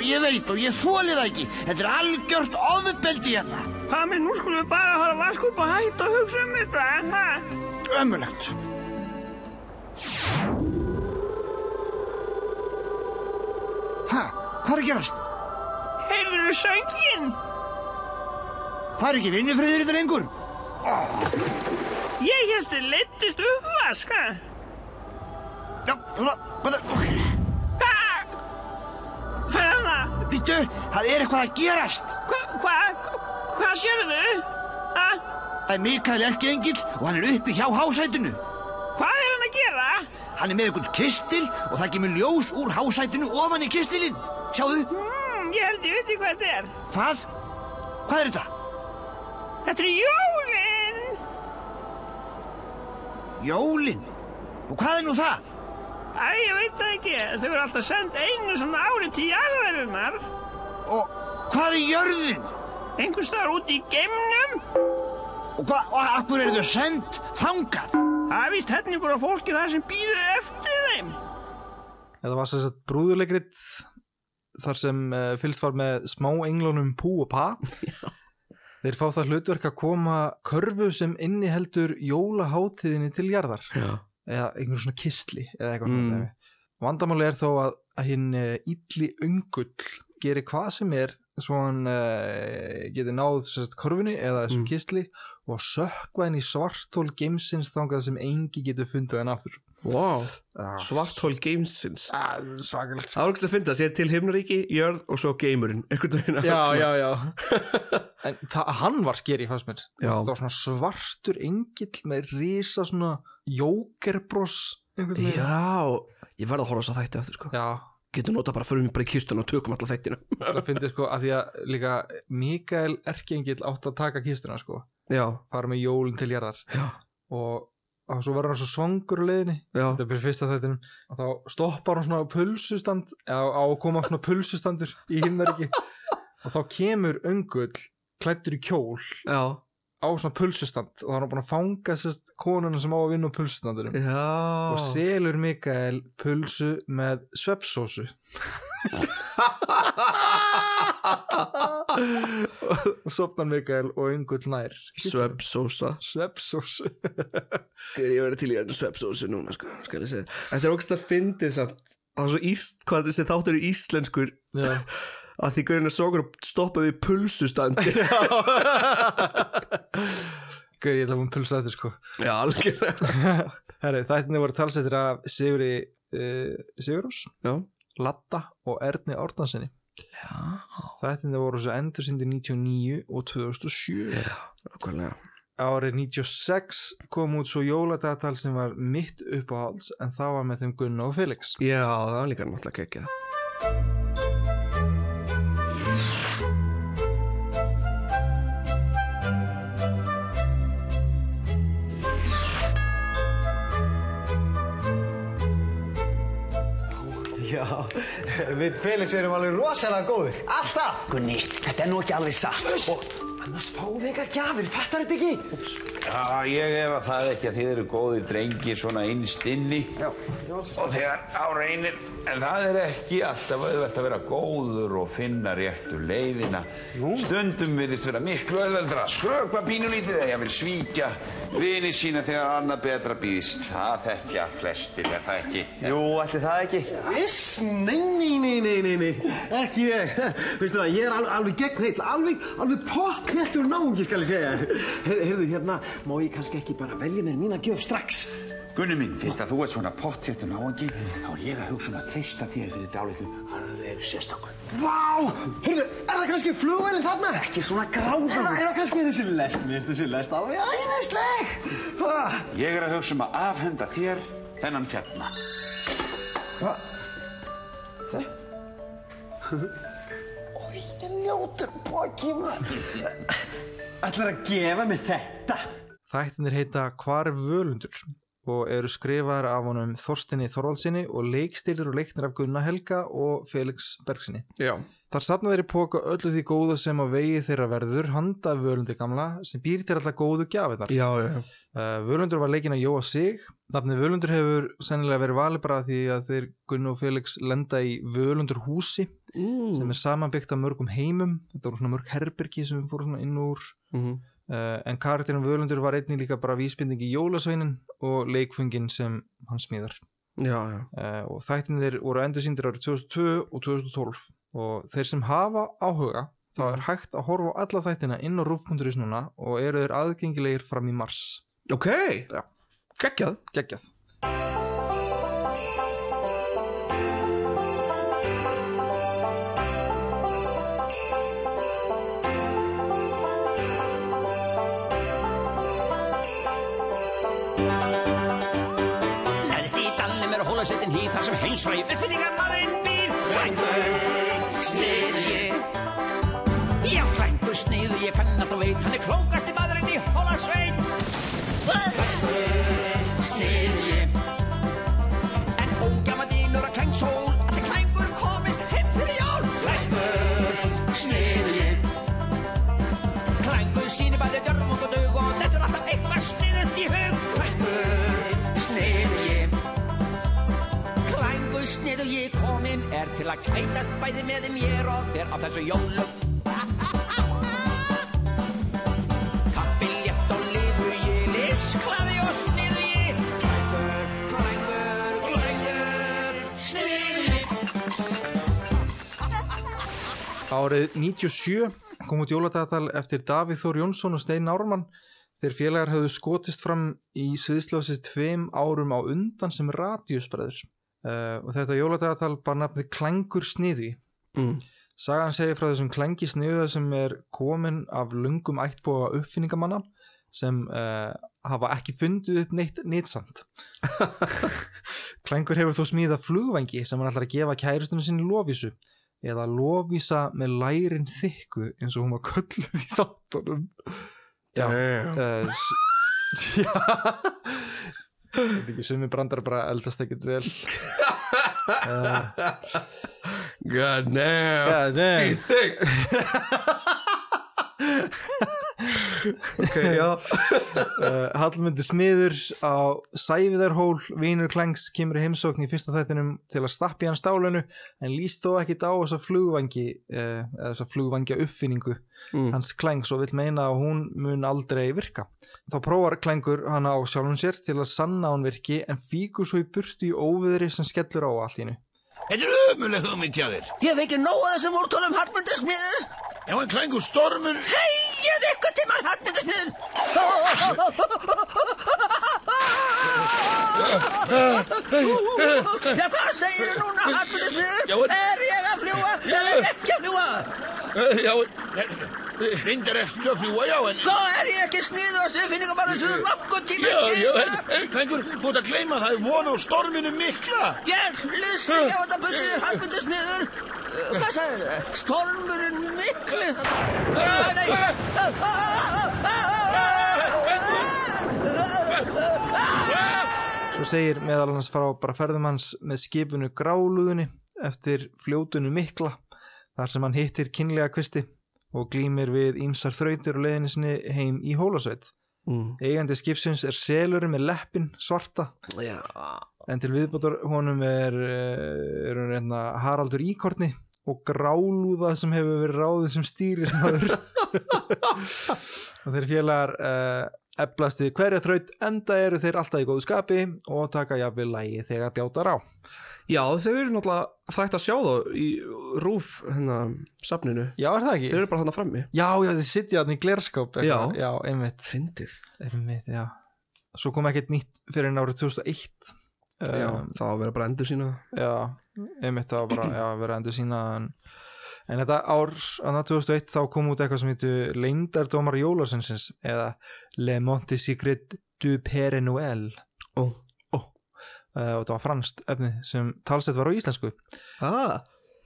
Speaker 11: Ég veit og ég þóli það ekki. Þetta er algjört ofubeldi hérna.
Speaker 12: Hvað minn, nú skulum við bara fara að vaska upp og hætta að hugsa um þetta, ha?
Speaker 11: Ömulegt. Hæ? Hvað er að gerast?
Speaker 12: Heyrðu söngin?
Speaker 11: Það er ekki vinnufriður þetta lengur.
Speaker 12: Ég held þið leittist uppvask, ha?
Speaker 11: Já, svona, hvað það...
Speaker 12: Ferða.
Speaker 11: Býttu, það er eitthvað að gerast.
Speaker 12: Hva, hvað, hvað sérðu? Ha?
Speaker 11: Það er Mikael Erkiengill og hann er uppi hjá hásætinu.
Speaker 12: Hvað er hann að gera?
Speaker 11: Hann er með einhvern kistil og það kemur ljós úr hásætinu ofan í kistilinn. Sjáðu,
Speaker 12: Mm, ég held ég veit hvað þetta er.
Speaker 11: hvað? Hvað er þetta?
Speaker 12: Þetta er jólinn.
Speaker 11: Jólin. Og hvað er nú það?
Speaker 12: Æ, ég veit það ekki. Þau eru alltaf sendt einu svona ári til jarðarinnar.
Speaker 11: Og hvað er jörðin?
Speaker 12: Einhvers staðar úti í geimnum.
Speaker 11: Og hvað, og akkur eru þau send þangað?
Speaker 12: Það er víst hellingur af fólki þar sem býður eftir þeim.
Speaker 3: Þetta var sem sagt brúðulegrið þar sem uh, fylgst var með smá englunum Pú og Pa. Þeir fá það hlutverk að koma körfu sem inniheldur jólaháttíðinni til jarðar.
Speaker 2: Já.
Speaker 3: Eða einhverjum svona kistli eða eitthvað.
Speaker 2: Mm.
Speaker 3: Mm. Vandamáli er þó að, að hinn uh, illi ungull gerir hvað sem er svo hann uh, geti náð sem sagt, körfunni eða þessum
Speaker 2: Mm.
Speaker 3: kistli og sökva henni svartól geimsins þangað sem engi getur fundið henni aftur.
Speaker 2: Wow, svarthól gamesins
Speaker 3: ah, Svakalegt
Speaker 2: Það var ekki að finna, sér til himnaríki, jörð og svo geimurinn Einhvern veginn að
Speaker 3: já,
Speaker 2: höggva.
Speaker 3: já, já en það, hann var skeri fannst mér
Speaker 2: Já.
Speaker 3: það var svona svartur engill með risa svona jókerbross einhvern veginn.
Speaker 2: Já, ég verð að horfa þess að þætti aftur sko
Speaker 3: já
Speaker 2: Getur nota bara að förum við bara í kistuna og tökum alla þættina
Speaker 3: það finnir sko að því að líka Mikael Erkengill átt að taka kistuna sko
Speaker 2: Já,
Speaker 3: fara með jólun til jarðar
Speaker 2: já,
Speaker 3: og og svo var hann svo svangur á leiðinni
Speaker 2: Já.
Speaker 3: þetta er fyrir fyrsta þættinum og þá stoppar hann svona á pulsustand á, á að koma svona pulsustandur í himnaríki og þá kemur öngull klættur í kjól
Speaker 2: já,
Speaker 3: á svona pulsustand og þá er hann búin að fanga sérst konuna sem á að vinna á pulsustandinum
Speaker 2: já
Speaker 3: og selur Mikael pulsu með sveppsósu og sopnar Mikael og yngull nær
Speaker 2: Svepsósa
Speaker 3: sveppsósu
Speaker 2: Ég ég verið til í enn svepsósu núna sko, skal ég segja Þetta er ógst að fyndið samt Það er svo íst, hvað þessi þáttur er íslenskur
Speaker 3: Já.
Speaker 2: að því gauðin er svo okkur stoppaði í pulsustandi
Speaker 3: Gauður, ég ætla að búin pulsa þetta sko
Speaker 2: Já, algjörlega
Speaker 3: Herri, þættinni voru talsettir af Sigurði uh, Sigurðs
Speaker 2: Já,
Speaker 3: Latta og Erni Árnarsinni Þættinni voru svo endursindi 99 og 2007 Já
Speaker 2: okkurlega
Speaker 3: árið 96 kom út svo jóladagatal sem var mitt uppáhalds en það var með þeim Gunna og Felix
Speaker 2: Já, það er líka náttúrulega kekja
Speaker 13: Já, við Felix erum alveg rosalega góðir, alltaf! Gunni, þetta er nú ekki alveg satt. Og annars fáum við eitthvað gjafir, fattar þetta ekki? Úps.
Speaker 14: Já, ég efa það ekki að þið eru góðir drengir svona innst inni Já, og þegar á reynir en það er ekki alltaf auðvelt að vera góður og finna réttu leiðina Jú. stundum virðist vera miklu auðveldra að skrökva pínulítið eða ég vil svíkja vini sína þegar annað betra býðist það þekkja flestir er það ekki Jú, ætli það ekki
Speaker 13: Viss, nei, nei, nei, nei, nei, nei, ekki ég. Veistu það, ég er alveg, alveg gegn heill, alveg, alveg pokknettur náungi, skal ég segja. þér. Her, heyrðu, hérna, má ég kannski ekki bara velja mér mína gjöf strax?
Speaker 14: Gunni minn, fyrst að þú ert svona pottéttur náengi þá er ég að hugsa um að treysta þér fyrir dálitum alveg sérstakku
Speaker 13: Vá, heyrðu, er það kannski flugvelin þarna? Ekki svona gráðan. Er, það- er það kannski þessi lest, mér finnst þessi lest alveg æðisleg. Ah,
Speaker 14: Ég er að hugsa um að afhenda þér þennan hérna.
Speaker 13: Hva? Ói, ég njótur pokki, maður. Ætlar að gefa mig þetta?
Speaker 3: Þættinir heita Hvar er völundur og eru skrifaðar af honum Þorstinni Þorvaldsinni og leikstýrður og leiknir af Gunna Helga og Felix Bergsinni.
Speaker 2: Já.
Speaker 3: Þar safna þeir í póka öllu því góða sem á vegi þeirra verður handa af völundi gamla sem býr til alltaf góðu gjafinnar.
Speaker 2: Já, já, já.
Speaker 3: Uh, völundur var leikinn að Jóa Sig. Nafnið Völundur hefur sennilega verið valið bara því að þeir Gunn og Felix lenda í Völundur húsi
Speaker 2: Mm,
Speaker 3: sem er samanbyggt af mörgum heimum. Þetta voru svona mörg herbergi sem við fórum svona inn úr.
Speaker 2: Mhm.
Speaker 3: Uh, en karakterinn Völundur var einnig líka bara vísbinding í Jólasveinin og leikfungin sem hann smíðar.
Speaker 2: Já, já.
Speaker 3: Uh, og þættinir voru endursýndir árið 2002 og 2012 og þeir sem hafa áhuga þá er hægt að horfa á alla þættina inn á rúf.is núna og eru þeir aðgengilegir fram í mars
Speaker 2: Ok,
Speaker 3: Já.
Speaker 2: geggjað
Speaker 3: geggjað
Speaker 15: Neðst í dalnum er hólasveitin hý þar sem heimsfræði uppfinningar maðurinn býr Klængur, sniður ég Já, klængur, sniður ég kann allt og veit Hann er klókasti maðurinn í hólasveit Klængur, sniður ég En ógjaman dýnur að klængsól Allir klængur komist heim fyrir jól Klængur, sniður ég Klængur sýnir bæði dörmung og dög Og þetta er alltaf eitthvað sniðugt í hug Klængur, sniður ég Klængur snið og ég komin er til að kætast bæði með þeim ég er og fer á þessu jólum. Kappi létt og liður ég, livsklaði og sniðu ég. Klængur, klængur, klængur, sniðu ég.
Speaker 3: Árið 97 kom út jóladagatal eftir Davíð Þór Jónsson og Stein Ármann þeir félagar höfðu skotist fram í sviðsljósið tveim árum á undan sem radíusbreður uh, og þetta jóladagatal bara nafnið Klængur sniði
Speaker 2: Mm.
Speaker 3: Sagan segir frá þessum klengi sniða sem er komin af lungum ættbóða uppfinningamanna sem uh, hafa ekki fundið upp neitt nýtsamt. Klengur hefur þó smíðað flugvengi sem hann ætlar að gefa kærustunum sinni lofísu eða lofísa með lærin þykku eins og hún var kölluð í þáttunum. Já. Uh, já. Sumi brandar bara eldast ekkert vel.
Speaker 2: God damn.
Speaker 3: God damn.
Speaker 2: She thick.
Speaker 3: ok, já uh, Hallmundur Smiður á Sæviðarhól, Vinur Klengs kemur í heimsókn í fyrsta þættinum til að stappi hann stálinu en líst þó ekkit á þessa flugvangi uh, eða þessa flugvangja uppfinningu hans Klengs og vill meina að hún mun aldrei virka. Þá prófar Klengur hana á sjálfum sér til að sanna að hún virki en fíkur svo í burtu í óviðri sem skellur á allt í hennu.
Speaker 11: Þetta er ömuleg hugmynd hjá þér.
Speaker 15: Ég hef ekki nóg að þessum úrtólum hallmyndasmiður.
Speaker 11: Já, en klængur stormur.
Speaker 15: Þegjað ykkur tímar hallmyndasmiður. Já, hvað segirðu núna
Speaker 11: Já,
Speaker 15: hallmyndasmiður?
Speaker 11: en-
Speaker 15: Er ég að fljúa eða er ég ekki að fljúa?
Speaker 11: Eh, Já, en- reyndar eftir að fljúa, já, en...
Speaker 15: Svo er ég ekki snið og sviðfinningar bara sem nokkuð tíma
Speaker 11: Já, já, en- en klængur, þú ert að gleyma, það er von á storminu mikla.
Speaker 15: Ég hlust ekki á þetta buttiður hallmyndasmiður. Hvað sagðið þau? Stormurinn miklu. Ah, Nei. Ah, ah, ah, ah, ah, ah.
Speaker 3: Svo segir meðal hans frá bara ferðum hans með skipinu gráluðunni eftir fljótunu mikla þar sem hann hittir kynlega kvisti og glýmir við ímsar þrautir og leiðinni sinni heim í hólasveit.
Speaker 2: Mm.
Speaker 3: Eigandi skipsins er selurinn með leppin svarta
Speaker 2: Já.
Speaker 3: en til viðbótar honum er, eh, er reyna, Haraldur Íkorni og grálúða sem hefur verið ráðin sem stýrir og þeir félagar uh, eflast við hverja þraut enda eru þeir alltaf í góðu skapi og taka jafnvel lægi þegar bjátar á
Speaker 2: Já, þeir eru náttúrulega þrætt að sjá þá í rúf hennar safninu.
Speaker 3: Já, er það ekki?
Speaker 2: Þeir eru bara þarna frammi.
Speaker 3: já, já, þeir sitja þarna í glerskáp
Speaker 2: Já.
Speaker 3: eitthvað. já, einmitt
Speaker 2: Fyndið.
Speaker 3: einmitt, já svo kom ekkert nýtt fyrir en árið 2001 um,
Speaker 2: Já, það á að vera bara endur sína.
Speaker 3: já, einmitt það var bara já, verið að endur sína en, en þetta ár, annar 2001 þá kom út eitthvað sem heitu Leindardómar Jólasensins eða Le Monte Secret du Père Noël
Speaker 2: oh.
Speaker 3: Oh. og þetta var franskt efni sem talsett var á íslensku
Speaker 2: ah.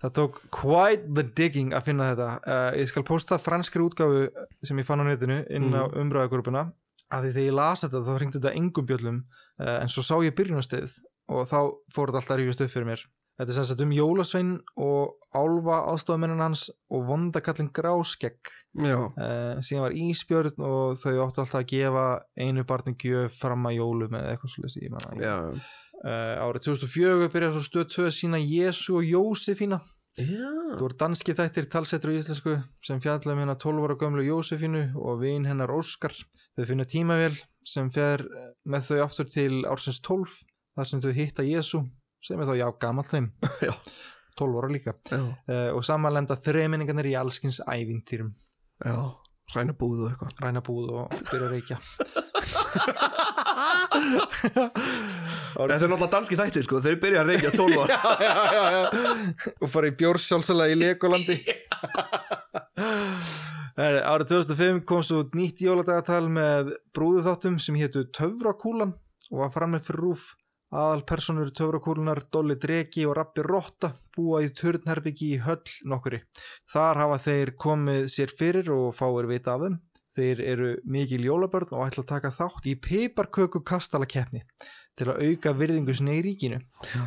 Speaker 3: það tók quite the digging að finna þetta uh, ég skal posta franskri útgáfu sem ég fann á netinu inn á
Speaker 2: Mhm.
Speaker 3: mm. umræðagrúpuna að því þegar ég las þetta þá hringdi þetta engum bjöllum uh, en svo sá ég byrjunarsteið og þá fór þetta alltaf að rífast upp fyrir mér þetta er sem sagt um Jólasvein og Álfa ástofamennin hans og vondakallin Gráskegg
Speaker 2: Já.
Speaker 3: uh, síðan var Ísbjörn og þau áttu alltaf að gefa einu barni gjöf fram að jólum eða eitthvað svolítið ég manna ekki. uh, árið 2004 byrjaði svo stöð 2 sína Jésu og Jósefína
Speaker 2: Já.
Speaker 3: Þú voru danski þættir talsettur í íslensku sem fjallum hérna 12 ára gömlu Jósefínu og vin hennar Óskar. Þau finna tímavél sem fer eh, með þau aftur til ársins 12 þar sem þau hitta Jésu sem er þá já gamall þeim.
Speaker 2: já.
Speaker 3: 12 ára líka. Uh, og samanlenda þreminningarnir í allskins ævintýrum.
Speaker 2: Já, ræna búð og eitthvað.
Speaker 3: Ræna búð og byrja að reykja.
Speaker 2: Þetta er náttúrulega danski þættir, sko. Þeir byrja að reykja 12 ára.
Speaker 3: já, já, já, já. og fara í bjórsjálfsala í Legolandi Herri, Árið 2005 kom svo út nýtt jóladagatal með brúðuþáttum sem hétu Töfrakúlan og var framleitt fyrir rúf aðal personur Töfrakúlunar, Dolly Dreki og Rappi Rotta búa í turnherbyggi í höll nokkuri. Þar hafa þeir komið sér fyrir og fáir vita af þeim. Þeir eru mikil jólabörn og ætla að taka þátt í piparköku kastalakeppni til að auka virðingu sinni í ríkinu.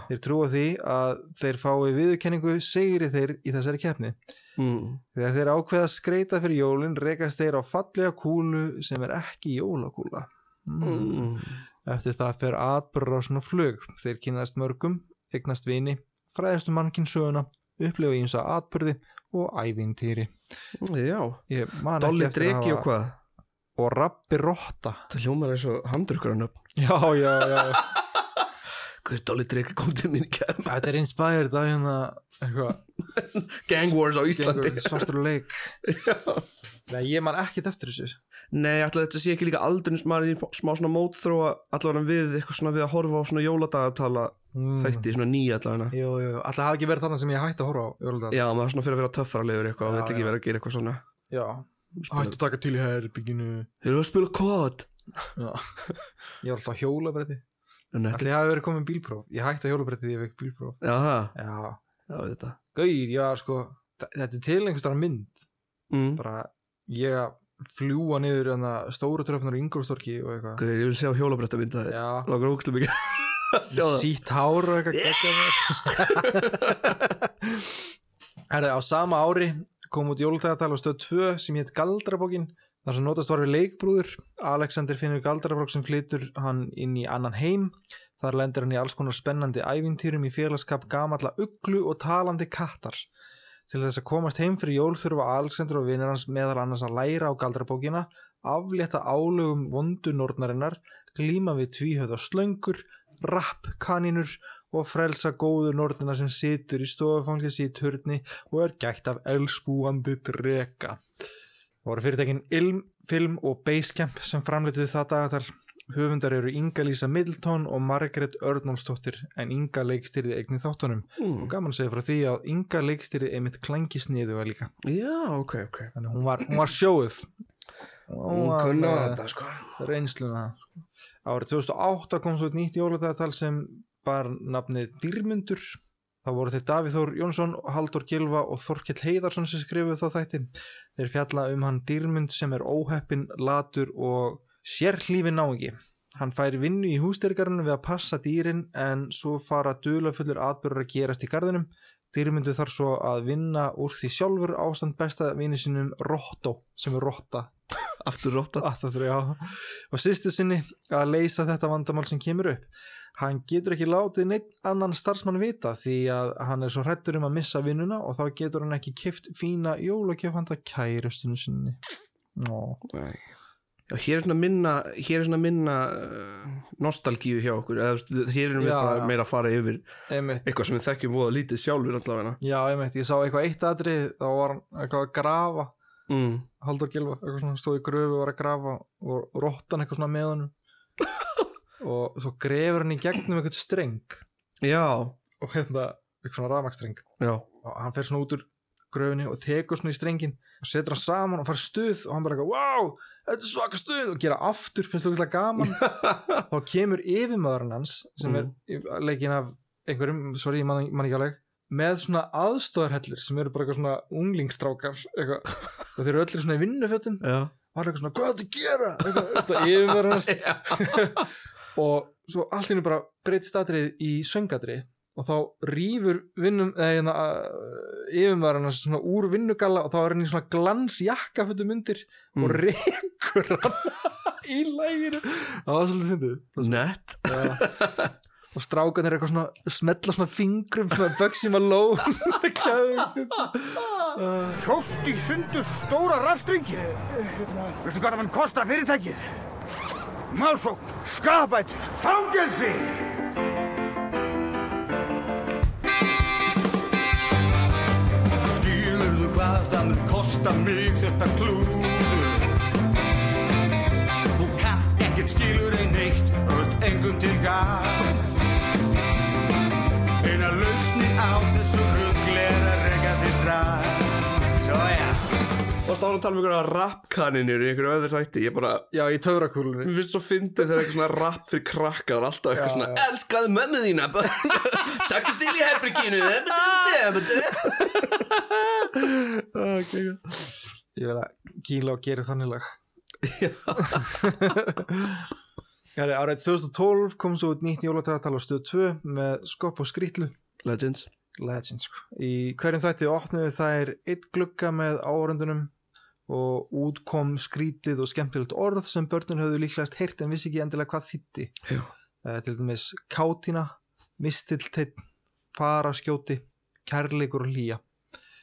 Speaker 3: Þeir trúa því að þeir fái viðurkenningu segri þeir í þessari keppni.
Speaker 2: Mm.
Speaker 3: Þegar þeir ákveða að skreita fyrir jólin rekast þeir á fallega kúlu sem er ekki jólakúla. Mm. Eftir það fer atbyrðrásin og flug. Þeir kynast mörgum, eignast vini, fræðastu mannkinn söguna, upplifa ímsa atbyrði og ævintýri.
Speaker 2: Já.
Speaker 3: Ég man ekki
Speaker 2: Dolly
Speaker 3: eftir
Speaker 2: Dreki
Speaker 3: að hafa-
Speaker 2: og hvað?
Speaker 3: Og Rappi Rotta.
Speaker 2: Það hljómar eins og handrukkarunöfn.
Speaker 3: Já, já, já.
Speaker 2: Hver Dolly Dreki kom til mín í kæm?
Speaker 3: Þetta er inspired af hérna eitthvað.
Speaker 2: Gang Wars á Íslandi.
Speaker 3: Gengur Svartur og leik. Nei, ég man ekkit eftir þessu.
Speaker 2: Nei, alltaf þetta sé ekki líka aldurinn sem maður er í smá svona mótþróa allavega við eitthvað svona við að horfa á svona jóladagatala
Speaker 3: Mm.
Speaker 2: þætti, svona nýja allavega
Speaker 3: Jú, jú, alltaf hafa ekki verið þannig sem ég hætti að horfa á Jólundag
Speaker 2: Já, maður er svona fyrir að vera töffaralegur eitthvað og
Speaker 3: Já,
Speaker 2: veit ekki
Speaker 3: já.
Speaker 2: vera að gera eitthvað svona
Speaker 3: já. Hætti að taka til í herbygginu
Speaker 2: Þeir eru að spila kod
Speaker 3: Já Ég var alltaf á hjólabretti
Speaker 2: En
Speaker 3: Alltaf
Speaker 2: þetta
Speaker 3: ég hafi verið komið með bílpróf Ég hætti á hjólabretti því ég fekk bílpróf
Speaker 2: Já, það
Speaker 3: Já
Speaker 2: Já, þetta
Speaker 3: Gauir, já, sko þa- Þetta er til einhverstara mynd
Speaker 2: Mm.
Speaker 3: Bara ég að fljúa niður hana, stóru tröfnar í Ingolstorki og eitthvað
Speaker 2: Guður, ég vil sjá hjólabretta mynda þér
Speaker 3: Já.
Speaker 2: Lókar ógslum mikið að sjá það
Speaker 3: sítt hár og eitthvað geggjað. Herðu, á sama ári kom út jólutægatal á stöð 2 sem hétt Galdrabókin þar sem notast var við leikbrúður Alexander finnur Galdrabók sem flytur hann inn í annan heim þar lendir hann í alls konar spennandi ævintýrum í félagskap gamalla uglu og talandi kattar til þess að komast heim fyrir jól þurfa Alexander og vinnir hans meðal annars að læra á galdrabókina aflétta álögum vondunornarinnar glíma við tvíhöða slöngur rapp kaninur og frelsa góðu nornina sem situr í stofufanglisi í turni og er gætt af elskúandi drega. Það voru fyrirtekin Ilm, Film og Basecamp sem framlituðu það dagatal. Höfundar eru Inga Lísa Middleton og Margaret Örnólfsdóttir en Inga leikstyrði eignið þáttunum.
Speaker 2: Mm.
Speaker 3: Og gaman að segja frá því að Inga leikstyrði einmitt klængisniðu að líka.
Speaker 2: Já, ok, ok
Speaker 3: Þannig að hún var, hún var sjóð.
Speaker 2: Hún kunnar
Speaker 3: var,
Speaker 2: þetta, sko.
Speaker 3: Reynsluna. Árið 2008 kom svo eitt nýtt jóladagatal sem bar nafnið Dýrmundur. Það voru þeir Davíð Þór Jónsson, Haldur Gilva og Þorkell Heiðarsson sem skrifuðu þá þætti. Þeir fjalla um hann Dýrmund sem er óheppin, latur og sérhlífi náingi. Hann fær vinnu í hústyrgarinu við að passa dýrin en svo fara dulafullur atbyrður að gerast í garðinum. Dýrmyndu þarf svo að vinna úr því sjálfur ástand besta vini sinum Rotto sem er Rotta
Speaker 2: aftur rótta
Speaker 3: aftur, já og sýstu sinni að leysa þetta vandamál sem kemur upp hann getur ekki látið neitt annan starfsmann vita því að hann er svo hrættur um að missa vinnuna og þá getur hann ekki kift fína jólagjöf handa kærustinu sinni Nó.
Speaker 2: Já, hér er svona minna, hér er svona minna uh, nostalgíu hjá okkur eða, þú veist, hér erum við
Speaker 3: Já,
Speaker 2: bara
Speaker 3: já.
Speaker 2: meira að fara yfir
Speaker 3: Einmitt.
Speaker 2: eitthvað sem við þekkjum voða lítið sjálfur allavega
Speaker 3: já, ég meint, ég sá eitthvað eitt atrið þá var hann eitthvað að grafa
Speaker 2: mm.
Speaker 3: Haldur Gilva, eitthvað svona stóð í gröfu og var að grafa og rottan eitthvað svona með hann og svo grefur hann í gegnum eitthvað streng
Speaker 2: já
Speaker 3: og hérna eitthvað svona rafmagstreng
Speaker 2: já,
Speaker 3: og hann fer svona út úr gröfunni og tekur svona í strengin og setur hann saman og fær stuð og hann bara eitthvað, wow, þetta er svaka stuð og gera aftur, finnst það eitthvað gaman þá kemur yfirmaðurinn hans sem er mm. leikinn af einhverjum, sorry, ég man, man ekki alveg með svona aðstóðarhellir sem eru bara eitthvað svona unglingstrákar eitthvað. og þeir eru öllir svona í vinnufötum
Speaker 2: Já.
Speaker 3: og hann er eitthvað svona, hvað er þetta að gera eitthvað, þetta yfirmaður hans og svo allt henni bara breytist atrið í söngadrið og þá rýfur vinnum eða uh, yfirmaður hann svona úr vinnugalla og þá er hann í svona glans jakkafötum undir og rekur hann í læginu það var svolítið fyndið
Speaker 2: nett
Speaker 3: Já. og strákan er eitthvað svona smetla svona fingrum svona Bugsy Malone
Speaker 7: Hjóst í sundur stóra rafstringi. Veistu hvað það mann kosta fyrirtækið? Málsókn, skapætur, fangelsi!
Speaker 15: Skilurðu hvað það mun kosta mig þetta klúður Þú kannt ekkert skilur ein neitt öll engum til galt Eina lausnin á þessu rugl er að rega því strax Svo er. já
Speaker 2: og stáðan að tala um einhverja rapkaninir í einhverju öðru þætti, ég bara
Speaker 3: já, í töfrakúlunni
Speaker 2: mér finnst svo fyndið þegar eitthvað svona rap fyrir krakka og alltaf eitthvað svona
Speaker 15: Elskaðu mömmu þína Takk til í herbygginu
Speaker 2: Ah,
Speaker 3: okay. ég vil að gíla og gera þannig lag Já, árið 2012 kom svo út nýtt jólatagatal á stöð 2 með skopp og skrýtlu
Speaker 2: Legends
Speaker 3: Legends, sko. Í hverjum þætti opnuðu þær eitt glugga með árundunum og út kom skrítið og skemmtilegt orð sem börnun höfðu líklegast heyrt en vissi ekki endilega hvað þýtti.
Speaker 2: Já.
Speaker 3: Eh, til dæmis kátina, mistilteinn, faraskjóti, kærleikur og hlýja.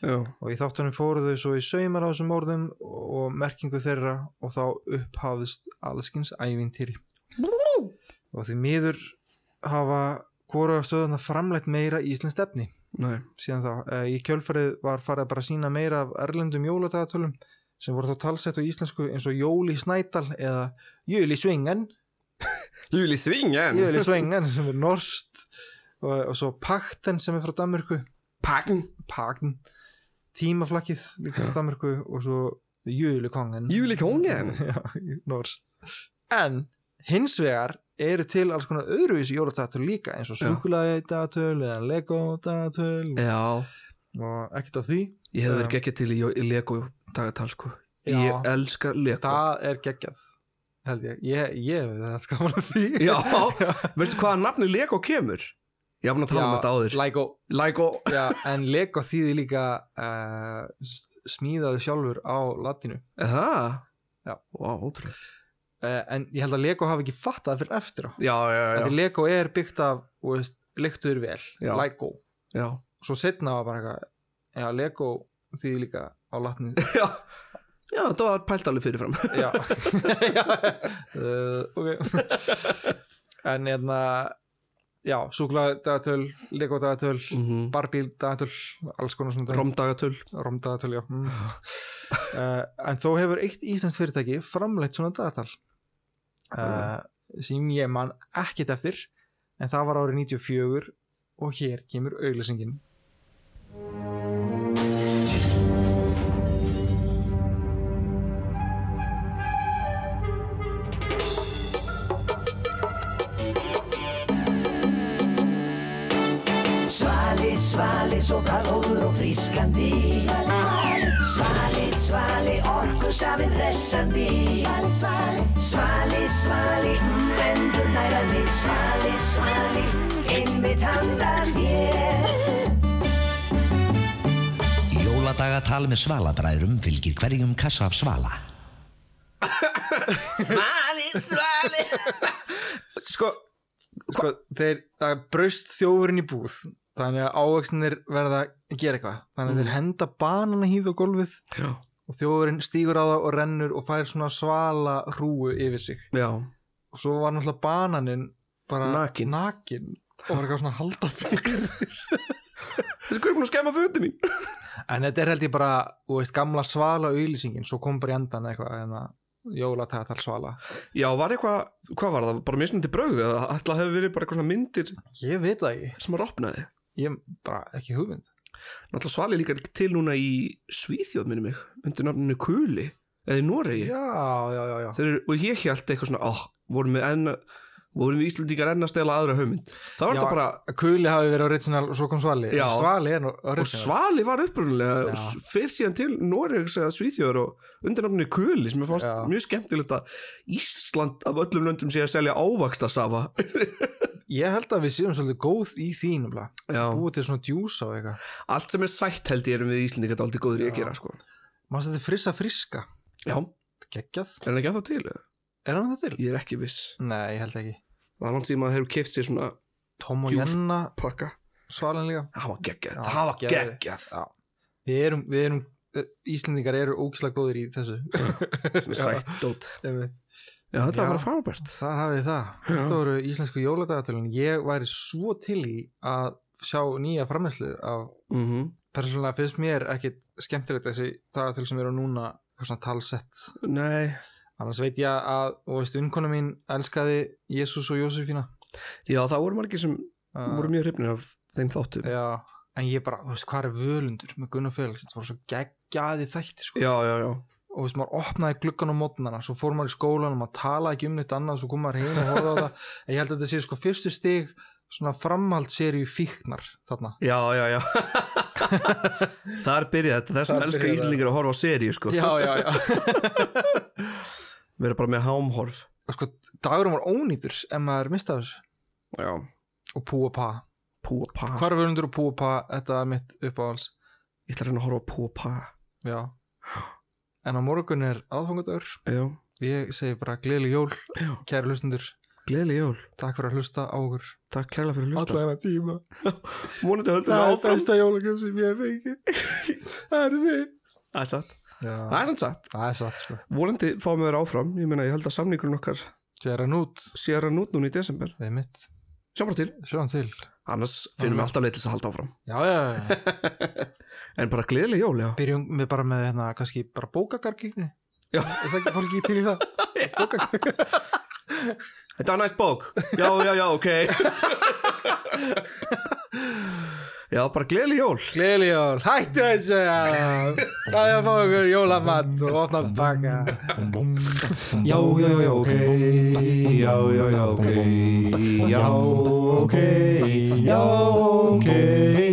Speaker 2: Já.
Speaker 3: Og í þáttunum fóru þau svo í saumar á þessum orðum og merkingu þeirra og þá upphafðist allskins ævintýri og því miður hafa hvora stöðuna framleitt meira íslenskt efni
Speaker 2: Nei.
Speaker 3: síðan þá, Eh, í kjölfarið var farið að bara sína meira af erlendum jóladagatölum sem voru þá talsett á íslensku eins og Jóli Snædal eða Jöli Svingan
Speaker 2: Júli Svingen
Speaker 3: Jöli Svingan sem er norst og, og svo Pakten sem er frá Danmörku
Speaker 2: Pakten,
Speaker 3: Pakten. Tímaflakkið líka frá Danmörku og svo Jölikongen
Speaker 2: Jölikongen
Speaker 3: norst en hins vegar eru til alls konar öðruvísi jóladagatölur líka eins og
Speaker 2: Já.
Speaker 3: súkulaði dagatöl eða Lego dagatöl
Speaker 2: já
Speaker 3: og ekkert af því
Speaker 2: ég hefði verið
Speaker 3: Um,
Speaker 2: geggjað til í, í Lego dagatal sko
Speaker 3: Já.
Speaker 2: ég elska Lego
Speaker 3: það er geggjað held ég, ég, ég hef þetta gaman að því
Speaker 2: já, veistu hvaða nafni Lego kemur? ég hafði að tala um
Speaker 3: Já,
Speaker 2: þetta áður
Speaker 3: Lego,
Speaker 2: Lego.
Speaker 3: Já, en Lego þýði líka uh, smíðaðu sjálfur á latinu
Speaker 2: það?
Speaker 3: já,
Speaker 2: wow, ótrúlega
Speaker 3: Eh, en ég held að Lego hafi ekki fattað fyrir eftir á
Speaker 2: já, já, já,
Speaker 3: Þetta Lego er byggt af, þú veist, lyktur vel,
Speaker 2: Já.
Speaker 3: Lego
Speaker 2: já.
Speaker 3: Svo setna var bara eitthvað, já, Lego þýði líka á latinu
Speaker 2: Já, já það var pælt alveg fyrirfram
Speaker 3: já, uh, ok en hérna já, súklaðdagatöl legodagatöl,
Speaker 2: Mhm.
Speaker 3: mm -hmm. barbíldagatöl alls konar svona
Speaker 2: Romdagatöl
Speaker 3: Romdagatöl, já mm. uh, en þó hefur eitt íslensk fyrirtæki framleitt svona dagatal uh, sem ég man ekkit eftir en það var árið 94 og hér kemur auglýsingin
Speaker 16: Svali, svali, svo það góður og frískandi Svali, svali, orkusafinn hressandi Svali, svali, mm, endur nærandi Svali, svali, innmitt handa þér
Speaker 17: Jóladagatal með svalabræðrum fylgir hverjum kassa af svala.
Speaker 16: Svali, svali
Speaker 3: sko, sko þeir, það braust þjófurinn í búð þannig að ávegstinir verða að gera eitthvað þannig að þeir henda banana hýð á gólfið Já. og þjófurinn stígur á það og rennur og fær svona svala hrúu yfir sig
Speaker 2: Já.
Speaker 3: og svo var náttúrulega bananinn bara
Speaker 2: Nakinn.
Speaker 3: og
Speaker 2: Oh.
Speaker 3: var eitthvað svona að halda fyrir
Speaker 2: þessi hver er búin að skemma fötin mín
Speaker 3: en þetta er held ég bara, þú veist, gamla svala auðlýsingin, svo kom bara í endan eitthvað en að jólatagatal svala
Speaker 2: Já, var eitthvað, hvað var það, bara mismunandi brögð eða ætla að hefur verið bara eitthvað svona myndir
Speaker 3: Ég veit það ekki
Speaker 2: sem að opnaði
Speaker 3: Ég bara ekki hugmynd
Speaker 2: Náttúrulega svalið líka til núna í Svíþjóð minni mig, undir nafninu Kuli eða í Noregi
Speaker 3: Já, já, já, já.
Speaker 2: Þeir, eru- Og ég held eitthvað svona, oh, vorum við enn vorum við Íslandíkar enn að stela aðra hugmynd Það var
Speaker 3: Já,
Speaker 2: þetta bara
Speaker 3: Kuli hafi verið original og svo kom Svali
Speaker 2: Já.
Speaker 3: Svali er nú
Speaker 2: og
Speaker 3: original
Speaker 2: Svali var upprunlega
Speaker 3: Já.
Speaker 2: fyrr síðan til Noregs eða Svíþjóður og undirnafni Kuli sem ég fannst mjög skemmtilegt að Ísland af öllum löndum sé að selja ávaksta safa
Speaker 3: Ég held að við séum svolítið góð í þínum
Speaker 2: búið
Speaker 3: til svona djús á eitthvað
Speaker 2: Allt sem er sætt held ég erum við Íslandingar þetta aldrei góður í að gera sko
Speaker 3: Mást þetta frissa friska
Speaker 2: Já
Speaker 3: Geggjað
Speaker 2: Er hann ekki að það til? eða?
Speaker 3: Er hann það til?
Speaker 2: Ég er ekki viss
Speaker 3: Nei, ég held ekki
Speaker 2: Það er hann sem að hefur keift sér svona
Speaker 3: Tom og
Speaker 2: Djús
Speaker 3: Jenna
Speaker 2: pakka
Speaker 3: Svalin líka
Speaker 2: Það var geggjað, það var geggjað.
Speaker 3: Já. Við erum, við erum eh, Íslendingar eru ógislega góðir í þessu
Speaker 2: svona sætt dót.
Speaker 3: Einmitt.
Speaker 2: Já, þetta var bara frábært
Speaker 3: Þar hafið þið það, þetta voru íslensku jóladagatölun Ég væri svo til í að sjá nýja framleyslu af
Speaker 2: Mhm.
Speaker 3: persónulega finnst mér ekkit skemmtilegt þessi dagatöl sem eru núna eitthvað svona talsett
Speaker 2: Nei
Speaker 3: Annars veit ég að, og veist, vinkona mín elskaði Jésús og Jósefína Eh,
Speaker 2: Já, það voru margir sem voru mjög hrifnir af þeim þáttum
Speaker 3: Já, en ég bara, þú veist, hvað er völundur með Gunnar Félix, það voru svo geggjaði þættir sko.
Speaker 2: Já, já, já
Speaker 3: og þú veist, maður opnaði gluggan á mótnana svo fór maður í skólan og maður talaði ekki um neitt annað svo kom maður heim og horfði á það en ég held að þetta sé sko fyrstu stig svona framhaldsseríu fíknar þarna
Speaker 2: Já, já, já Þar byrjaði þetta, þessum
Speaker 3: Þar
Speaker 2: elska
Speaker 3: byrjaði
Speaker 2: Íslandingar að horfa á seríu sko
Speaker 3: Já, já, já.
Speaker 2: Við erum bara með hámhorf
Speaker 3: og sko, dagurum var ónýtur en maður mistaði þessu
Speaker 2: já.
Speaker 3: og púa pa
Speaker 2: Púa pa
Speaker 3: hvar er völundur og púa pa, þetta er mitt uppáhals
Speaker 2: Ég ætla að reyna að horfa á púa pa
Speaker 3: já en á morgun er aðfangadagur
Speaker 2: Já.
Speaker 3: ég segi bara gleðileg jól
Speaker 2: já.
Speaker 3: kæri hlustundur
Speaker 2: Gleðileg jól
Speaker 3: takk fyrir að hlusta á okkur
Speaker 2: takk kærlega fyrir að
Speaker 3: hlusta alla hennar tíma
Speaker 2: Mónandi höldum
Speaker 3: það
Speaker 2: við
Speaker 3: er
Speaker 2: áfram
Speaker 3: besta jólagjöf sem ég hef fengið það eru þið
Speaker 2: Það er satt
Speaker 3: Já.
Speaker 2: Það er samt satt
Speaker 3: Það er satt sko
Speaker 2: Volandi fáum við þér áfram Ég meina ég held að samningurinn okkar
Speaker 3: Sér hann út
Speaker 2: Sér hann út núna í desember
Speaker 3: Við mitt
Speaker 2: Sjá bara til
Speaker 3: Sjá hann til
Speaker 2: Annars finnum við
Speaker 3: Annars-
Speaker 2: alltaf leið til þess að halda áfram
Speaker 3: Já, já, já
Speaker 2: En bara gleðileg jól, já
Speaker 3: Byrjum við bara með hérna kannski bara bókagarginni
Speaker 2: Já
Speaker 3: Er það ekki fólki til í það?
Speaker 2: Þetta var næst bók Já, já, já, ok Já, bara gleðileg jól
Speaker 3: Gleðileg jól Hættu þessu Það er að fá ykkur jólamann og opna baka
Speaker 4: Já, já, já, ok Já, já, já, ok Já, ok Já, ok